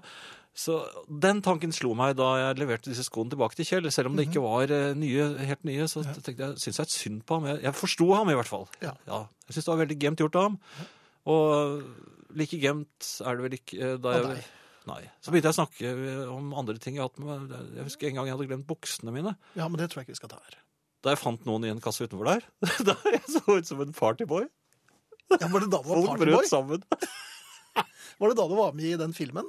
C: så den tanken slo meg da jeg leverte disse skoene tilbake til Kjell. Selv om det
B: Mhm.
C: ikke var eh, nye, helt nye, så tenkte jeg, synes jeg er synd på ham. Jeg, jeg forsto ham i hvert fall.
B: Ja.
C: jeg synes det var veldig gemt gjort av ham. Og like gemt er det vel ikke eh, da
B: Av
C: jeg...
B: deg.
C: Nei. Så begynte jeg å snakke eh, om andre ting jeg har hatt med meg. Jeg husker en gang jeg hadde glemt buksene mine.
B: Ja, men det tror jeg ikke vi skal ta her.
C: Da jeg fant noen i en kasse utenfor der. Da jeg så ut som en partyboy.
B: Ja, var det da du var
C: Folk brøt
B: partyboy?
C: sammen.
B: Var det da du var med i den filmen?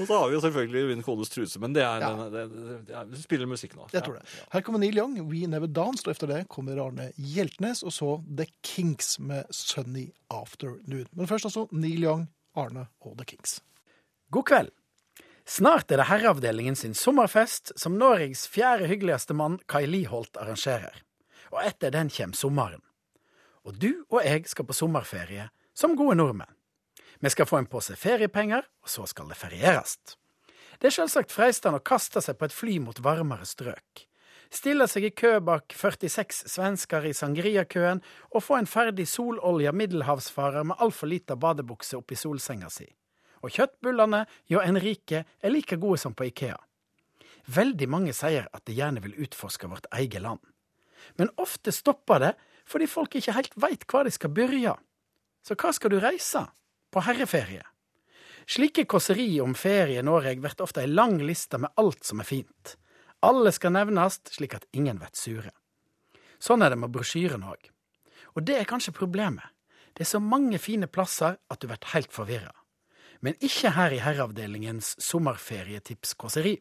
C: Og så har vi jo selvfølgelig min kones truse, men det er,
B: Ja.
C: det, det, det er, vi spiller musikken nå.
B: Jeg tror det. Her kommer Neil Young, We Never Danced, og etter det kommer Arne Hjeltnes, og så The Kinks med Sunny Afternoon. Men først altså Neil Young, Arne og The Kinks.
G: God kveld. Snart er det Herreavdelingen sin sommerfest, som Norges fjerde hyggeligste mann, Kai Liholt, arrangerer. Og etter den kommer sommeren. Og du og jeg skal på sommerferie, som gode nordmenn. Vi skal få en pose feriepenger, og så skal det ferieres. Det er selvsagt freistende å kaste seg på et fly mot varmere strøk. Stille seg i kø bak 46 svensker i sangriakøen og få en ferdig sololja middelhavsfarer med altfor lita badebukse oppi solsenga si og kjøttbullene hjå Enrique er like gode som på Ikea. Veldig mange sier at de gjerne vil utforske vårt eget land. Men ofte stopper det fordi folk ikke helt veit hva de skal begynne. Så hva skal du reise? På herreferie? Slike kåseri om ferie i Norge blir ofte ei lang liste med alt som er fint. Alle skal nevnes, slik at ingen blir sure. Sånn er det med brosjyren òg. Og det er kanskje problemet. Det er så mange fine plasser at du blir helt forvirra men ikke her i Herreavdelingens sommerferietips-kåseri.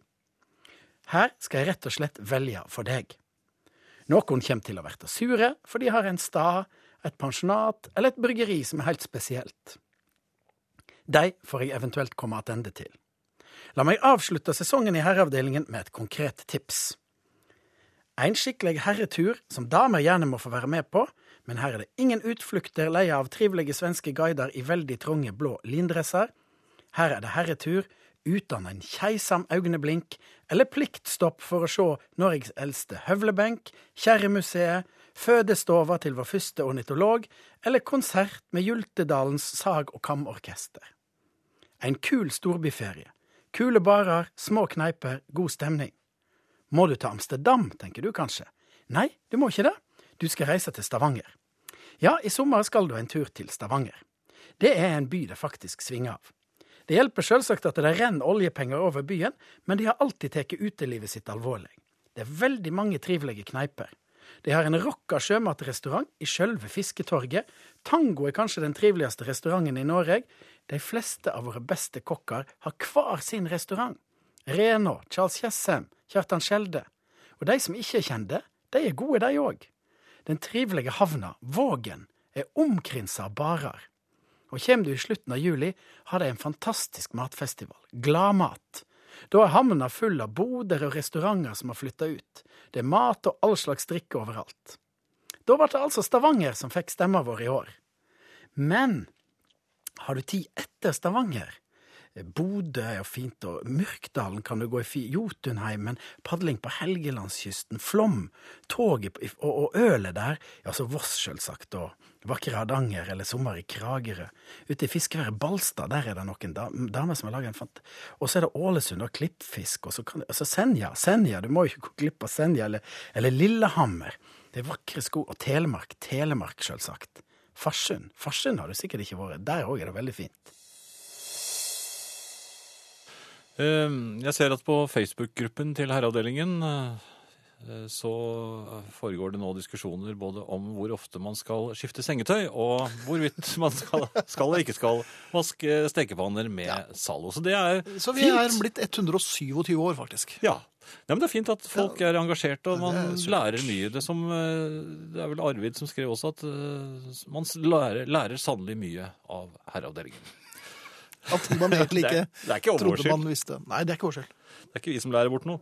G: Her skal jeg rett og slett velge for deg. Noen kommer til å bli sure, for de har en stad, et pensjonat eller et bryggeri som er helt spesielt. De får jeg eventuelt komme tilbake til. La meg avslutte sesongen i Herreavdelingen med et konkret tips. En skikkelig herretur som damer gjerne må få være med på, men her er det ingen utflukter leia av trivelige svenske guider i veldig trange blå lindresser. Her er det herretur uten en keisam øyeblink eller pliktstopp for å se Norges eldste høvlebenk, Kjerremuseet, fødestova til vår første ornitolog eller konsert med Jultedalens sag- og kamorkester. En kul storbyferie. Kule barer, små kneiper, god stemning. Må du til Amsterdam, tenker du kanskje. Nei, du må ikke det. Du skal reise til Stavanger. Ja, i sommer skal du en tur til Stavanger. Det er en by det faktisk svinger av. Det hjelper selvsagt at det renner oljepenger over byen, men de har alltid tatt utelivet sitt alvorlig. Det er veldig mange trivelige kneiper. De har en rocka sjømatrestaurant i sjølve Fisketorget. Tango er kanskje den triveligste restauranten i Norge. De fleste av våre beste kokker har hver sin restaurant. Rena, Charles Tjessem, Kjartan Skjelde. Og de som ikke er kjente, de er gode, de òg. Den trivelige havna, Vågen, er omkrinsa av barer. Og kommer du i slutten av juli, har de en fantastisk matfestival, Gladmat. Da er havna full av boder og restauranter som har flytta ut. Det er mat og all slags drikke overalt. Da ble det altså Stavanger som fikk stemma vår i år. Men har du tid etter Stavanger? Bodø er jo fint, og Myrkdalen kan du gå i fi, Jotunheimen, padling på Helgelandskysten, Flom, toget på- og, og ølet der, ja, så Voss selvsagt, og vakre Hardanger, eller sommer i Kragerø. Ute i fiskeværet Balstad, der er det noen dam- damer som har laget en fant... Og så er det Ålesund og klippfisk, og så, kan, og så Senja, Senja, du må jo ikke gå glipp av Senja, eller, eller Lillehammer. Det er vakre sko, og Telemark, Telemark selvsagt. Farsund, Farsund har du sikkert ikke vært, der òg er det veldig fint.
C: Eh, Jeg ser at på Facebook-gruppen til herreavdelingen eh, så foregår det nå diskusjoner både om hvor ofte man skal skifte sengetøy, og hvorvidt man skal, skal eller ikke skal vaske stekepanner med Zalo. Så det er
B: Så vi
C: fint.
B: er blitt 127 år, faktisk.
C: Ja. Nei, men det er fint at folk er engasjerte, og
B: Det
C: man
B: er supert.
C: lærer mye. Det, som, eh, det er vel Arvid som skrev også at eh, man s- lærer, lærer sannelig mye av herreavdelingen.
B: At man egentlig
C: Det
B: ikke
C: er, det er ikke vår
B: trodde
C: skyld.
B: man visste. Nei, det er ikke vår skyld.
C: Det er ikke vi som lærer bort noe.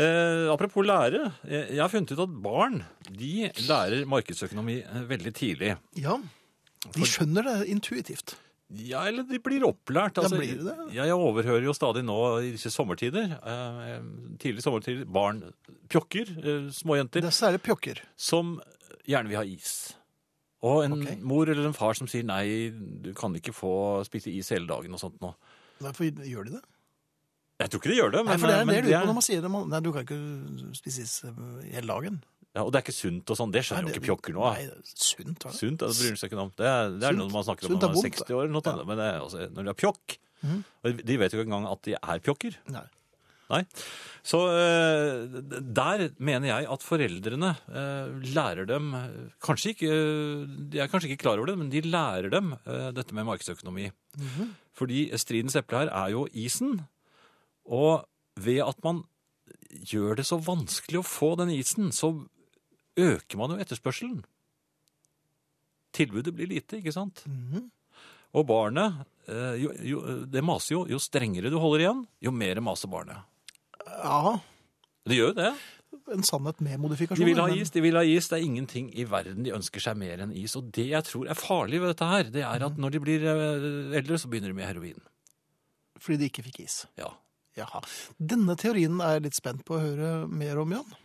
C: Eh, apropos lære. Jeg, jeg har funnet ut at barn de lærer markedsøkonomi eh, veldig tidlig.
B: Ja, de skjønner det intuitivt.
C: Ja, eller de blir opplært. Altså,
B: Ja, blir de det?
C: Ja, jeg overhører jo stadig nå i disse sommertider, eh, tidlig sommertider, barn, pjokker, eh, små jenter,
B: Det er særlig pjokker.
C: som gjerne vil ha is. Og en
B: Ok.
C: mor eller en far som sier nei, du kan ikke få spise is hele dagen og sånt nå.
B: Hvorfor gjør de det?
C: Jeg tror ikke de gjør det, men
B: Nei,
C: eh,
B: for det er en
C: men
B: del ute på når man sier det. Man, nei, du kan ikke spise is eh, hele dagen.
C: Ja, og det er ikke sunt og sånn. Det skjønner
B: Nei,
C: jo
B: det-
C: ikke pjokker nå.
B: Nei, det er sunt. Var det?
C: Sunt, det bryr han seg ikke noe om. Det er, det er
B: Sunt.
C: noe man snakker om
B: Sunt
C: når
B: er
C: man er
B: vondt, det.
C: 60 år, eller noe
B: Ja.
C: annet, men det er, altså, når det er pjokk og De vet jo ikke engang at de er pjokker.
B: Nei.
C: Nei. Så eh, der mener jeg at foreldrene eh, lærer dem eh, Kanskje ikke eh, De er kanskje ikke klar over det, men de lærer dem eh, dette med markedsøkonomi. Fordi stridens eple her er jo isen. Og ved at man gjør det så vanskelig å få den isen, så øker man jo etterspørselen. Tilbudet blir lite, ikke sant?
B: Mhm.
C: Og barnet eh, jo, jo, Det maser jo. Jo strengere du holder igjen, jo mer maser barnet.
B: Ja,
C: Det gjør jo det.
B: en sannhet med modifikasjoner.
C: De vil ha
B: men-
C: is, de vil ha is. Det er ingenting i verden de ønsker seg mer enn is. Og det jeg tror er farlig ved dette her, det er at når de blir eh, eldre, så begynner de med heroin.
B: Fordi de ikke fikk is.
C: Ja.
B: Jaha. Denne teorien er jeg litt spent på å høre mer om, Jan.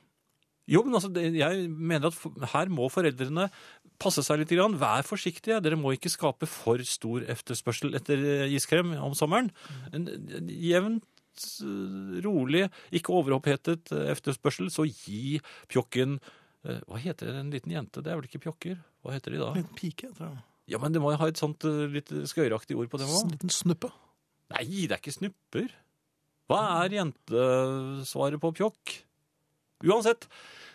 C: Jo, men altså, det- jeg mener at for- her må foreldrene passe seg litt. Grann. Vær forsiktige. Dere må ikke skape for stor etterspørsel etter eh, iskrem om sommeren. En en jevnt eh, rolig, ikke overopphetet eh, etterspørsel, så gi pjokken eh, Hva heter en liten jente? Det er vel ikke pjokker? Hva heter de da?
B: En liten pike, tror jeg.
C: Ja, men det må jo ha et sånt eh, litt skøyeraktig ord på det
B: En
C: òg.
B: liten snuppe.
C: Nei, det er ikke snupper. Hva er jentesvaret på pjokk? Uansett,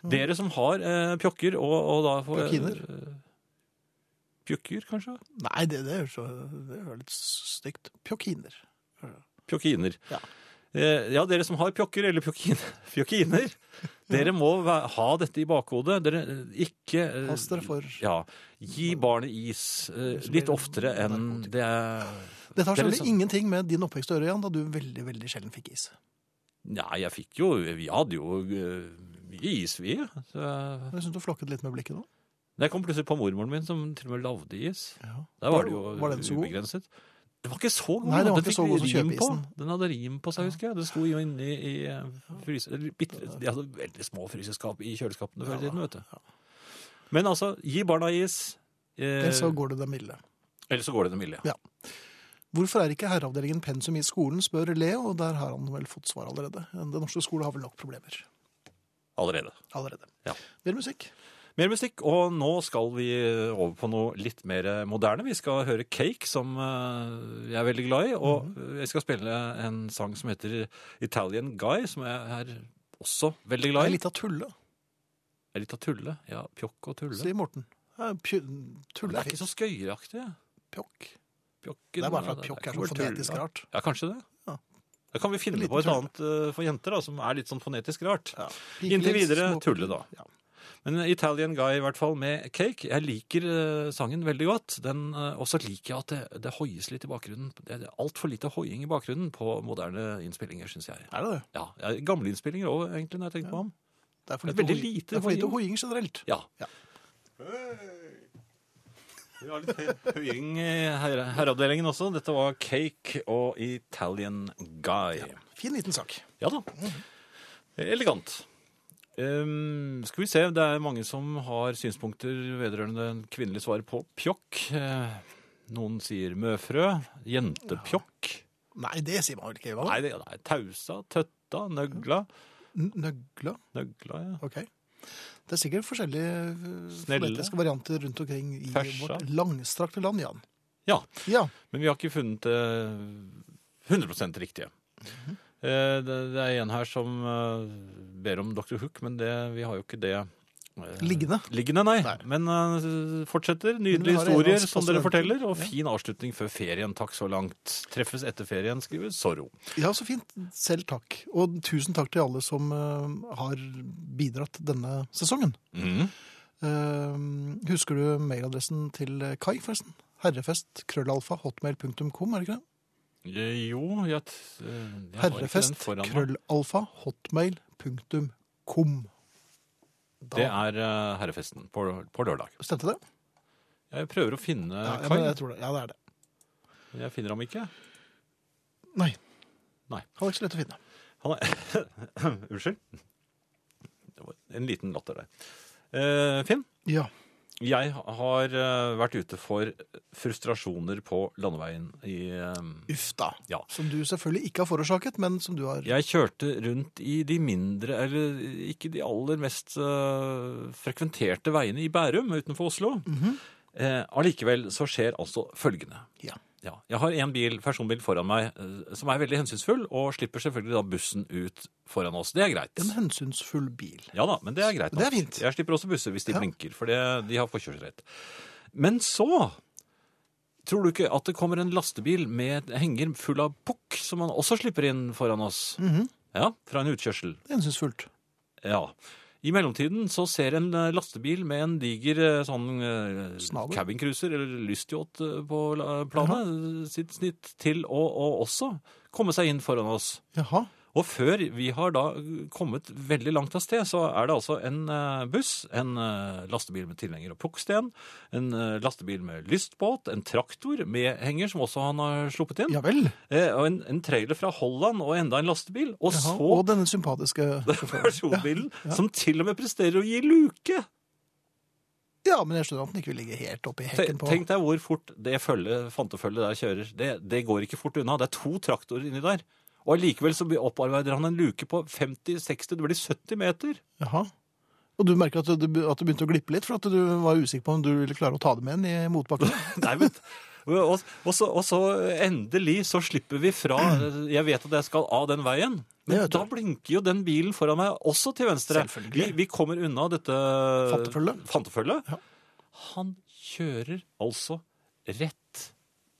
B: Mm.
C: dere som har eh, pjokker og, og da får
B: Pjokkiner.
C: eh, Pjukker, kanskje?
B: Nei, det, det, er så, det er litt stygt. Pjokkiner.
C: Pjokkiner.
B: Ja.
C: Eh, ja, dere som har pjokker eller pjokkin, pjokkiner, dere må væ- ha dette i bakhodet. Dere eh, ikke eh,
B: Pass dere for
C: Ja. Gi barnet is eh,
B: Som
C: litt
B: blir
C: oftere enn
B: narkotika.
C: det
B: Dette
C: er
B: har
C: Det er
B: selvfølgelig
C: liksom-
B: ingenting med din oppvekst å gjøre, Jan, da du veldig, veldig sjelden fikk is.
C: Nei, jeg fikk jo Vi hadde jo eh, mye is, vi. Så,
B: Men Jeg synes du flakket litt med blikket nå.
C: Men jeg kom plutselig på mormoren min, som til og med lagde is.
B: Ja.
C: Der var det jo
B: Var den så god?
C: ubegrenset. Den var ikke så god.
B: Nei, den var ikke
C: fikk
B: så god som
C: rim på.
B: kjøpeisen.
C: Den hadde rim på seg, husker jeg. Den sto jo inne i eh, fryse... eller bitte- De hadde veldig små fryseskap i kjøleskapene før i tiden, vet du. Men altså, gi barna is. Eh,
B: Ellers så går det dem ille.
C: ellers så går det dem ille.
B: Hvorfor er ikke herreavdelingen pensum i skolen, spør Leo, og der har han vel fått svar allerede. Den norske skole har vel nok problemer
C: Allerede.
B: allerede.
C: Ja.
B: Mer musikk.
C: Mer musikk, og nå skal vi over på noe litt mer moderne. Vi skal høre Cake, som eh, jeg er veldig glad i. Og
B: Mhm.
C: jeg skal spille en sang som heter Italian Guy, som jeg er også veldig
B: Det
C: glad
B: er
C: i.
B: litt av tulle,
C: Det er litt av tulle. Ja, pjokk og tulle.
B: sier Morten. Ja, pju-
C: Men
B: Tulle er
C: det er ikke
B: fint.
C: så skøyeraktig.
B: Pjokk.
C: Pjokken,
B: Det er bare
C: ja,
B: for at pjokk er
C: ikke
B: så
C: bare
B: fonetisk
C: tulle.
B: rart.
C: Ja, kanskje det.
B: Ja.
C: Da kan vi finne
B: En
C: på et
B: liten
C: annet eh, for jenter, da, som er litt sånn fonetisk rart.
B: Ja.
C: Inntil
B: Pikeleks,
C: videre
B: små-
C: tulle, da.
B: Ja.
C: Men Italian Guy i hvert fall med Cake. Jeg liker eh, sangen veldig godt. Den, eh, og så liker jeg at det, det hoies litt i bakgrunnen. Det er altfor lite hoiing i bakgrunnen på moderne innspillinger, syns jeg.
B: Er det det?
C: Ja, ja, Gamle innspillinger òg, egentlig, når jeg tenker på ham.
B: Det er for
C: Det er
B: lite,
C: veldig
B: hoiing.
C: lite
B: det er for lite
C: hoiing.
B: hoiing generelt.
C: Ja.
B: Ja.
C: Vi har litt høying i her herreavdelingen også. Dette var Cake og Italian Guy.
B: Fin liten sak.
C: Ja da. Elegant. Ehm, skal vi se, det er mange som har synspunkter vedrørende kvinnelig svar på pjokk. Eh, noen sier møfrø, jentepjokk.
B: Nei, det sier man vel ikke. Hva?
C: Nei, det er tausa, tøtta, nøgla.
B: N- Nøgla?
C: Nøgla, ja.
B: Ok. Det er sikkert forskjellige eh,
C: Snelle.
B: fonetiske varianter rundt omkring i
C: Fersa.
B: vårt langstrakte land, Jan.
C: Ja,
B: Ja,
C: Men vi har ikke funnet det 100 riktige. Eh, det, det er en her som eh, ber om Dr. Hook, men det, vi har jo ikke det eh,
B: Liggende.
C: Liggende, nei.
B: Nei.
C: Men eh, fortsetter.
B: Men vi
C: Nydelige
B: har en
C: historier
B: av oss
C: som dere
B: passer
C: forteller, og
B: Ja.
C: fin avslutning før ferien. Takk så langt. Treffes etter ferien, skriver Sorro.
B: ja, så fint. Selv takk. Og tusen takk til alle som eh, har bidratt denne sesongen. Eh, husker du mailadressen til Kai, forresten? Herrefest, krøllalfa, hotmail.com, er det ikke det?
C: Eh, Jo, jeg, t- eh, jeg har ikke den
B: Herrefest,
C: foran meg.
B: krøllalfa, hotmail.com. Da-
C: Det er eh, herrefesten på, på lørdag.
B: Stemte det?
C: Jeg prøver å finne
B: Ja, ja,
C: Kai,
B: men jeg tror det. Ja, det er det.
C: men jeg finner ham ikke.
B: Nei.
C: Nei.
B: Han er ikke så lett å finne.
C: Han er... Unnskyld. Det var en liten latter der. Eh, Finn,
B: Ja.
C: Jeg har eh, vært ute for frustrasjoner på landeveien i eh,
B: Uff da.
C: Ja.
B: Som du selvfølgelig ikke har forårsaket, men som du har
C: Jeg kjørte rundt i de mindre, eller ikke de aller mest øh, frekventerte veiene i Bærum utenfor Oslo. eh, allikevel så skjer altså følgende.
B: Ja.
C: Jeg har en bil, personbil foran meg eh, som er veldig hensynsfull, og slipper selvfølgelig da bussen ut foran oss. Det er greit.
B: en hensynsfull bil.
C: Ja da, men det er greit.
B: Det er
C: nok.
B: fint.
C: Jeg slipper også busser hvis de
B: Ja.
C: blinker, for det, de har forkjørsrett. Men så tror du ikke at det kommer en lastebil med henger full av pukk, som man også slipper inn foran oss?
B: Mhm.
C: Ja, fra en utkjørsel.
B: Hensynsfullt.
C: Ja. I mellomtiden så ser en eh, lastebil med en diger eh, sånn eh,
B: Snabel.
C: cabincruiser eller lystyacht eh, på la- planet eh, sitt snitt til å, å også komme seg inn foran oss.
B: Jaha.
C: Og før vi har da kommet veldig langt av sted, så er det altså en eh, buss, en eh, lastebil med tilhenger og pukksten, en eh, lastebil med lystbåt, en traktor med henger, som også han har sluppet inn,
B: Ja vel.
C: eh, og en, en trailer fra Holland, og enda en lastebil, og
B: Jaha.
C: så
B: Og denne sympatiske
C: personbilen, som til og med presterer å gi luke.
B: Ja, men jeg skjønner at den ikke vil ligge helt oppi hekken
C: Tenk,
B: på
C: tenk deg hvor fort det følge, fantefølget der kjører. Det, det går ikke fort unna. Det er to traktorer inni der. Og allikevel så opparbeider han en luke på 50-60, det blir 70 meter.
B: Jaha. Og du merker at du, at du begynte å glippe litt, for at du var usikker på om du ville klare å ta det med inn i motbakken.
C: Nei, men... Og, og, så, og så endelig så slipper vi fra Jeg vet at jeg skal av den veien, men
B: Det vet du.
C: da blinker jo den bilen foran meg også til venstre.
B: Selvfølgelig.
C: Vi, vi kommer unna dette
B: Fantefølget.
C: fantefølget. Han kjører altså rett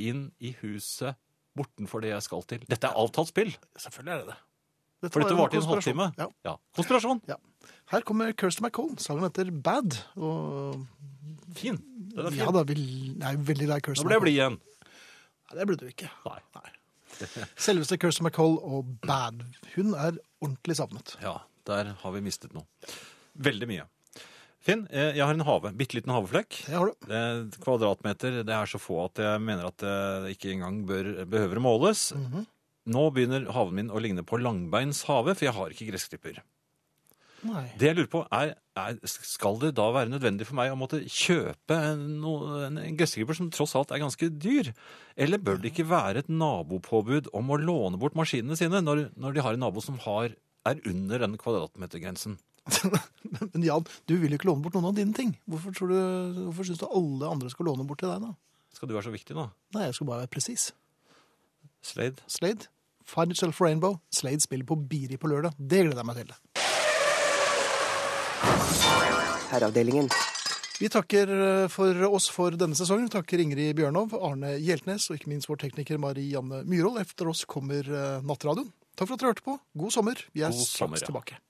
C: inn i huset bortenfor det jeg skal til. Dette er avtalt spill.
B: Selvfølgelig er det det.
C: For dette
B: var
C: varte i en
B: konspirasjon.
C: halvtime.
B: Ja.
C: Ja. Konspirasjon.
B: Her kommer Kirsten MacColl. Sangen heter Bad. Og
C: Fin. Den er fin.
B: ja da, vi er jo veldig glad i
C: Nå
B: Kirsten
C: ble jeg blid igjen.
B: Nei, det ble du ikke.
C: Nei.
B: Selveste Kirsten MacColl og Bad. Hun er ordentlig savnet.
C: Ja, der har vi mistet noe. Veldig mye. Finn, eh, jeg har en hage. Bitte liten hageflekk.
B: Det har du.
C: Det er et Kvadratmeter det er så få at jeg mener at det ikke engang bør, behøver å måles. Nå begynner haven min å ligne på langbeins hage, for jeg har ikke gressklipper.
B: Nei.
C: Det jeg lurer på er, er Skal det da være nødvendig for meg å måtte kjøpe en, no- en, en gressklipper som tross alt er ganske dyr? Eller bør det ikke være et nabopåbud om å låne bort maskinene sine når, når de har en nabo som har, er under den kvadratmetergrensen?
B: Men Jan, du vil jo ikke låne bort noen av dine ting. Hvorfor, tror du- hvorfor syns du alle andre skal låne bort til deg, da?
C: Skal du være så viktig nå?
B: Nei, jeg skal bare være presis.
C: Slade?
B: Slade. Find Itself Rainbow. Slade spiller på Biri på lørdag. Det gleder jeg meg til.
A: Herreavdelingen.
B: Vi takker eh, for oss for denne sesongen. Vi takker Ingrid Bjørnov, Arne Hjeltnes og ikke minst vår tekniker Marianne Myhrvold. Etter oss kommer eh, Nattradioen. Takk for at dere hørte på. God sommer. Vi er
C: God sommer,
B: straks
C: ja.
B: tilbake.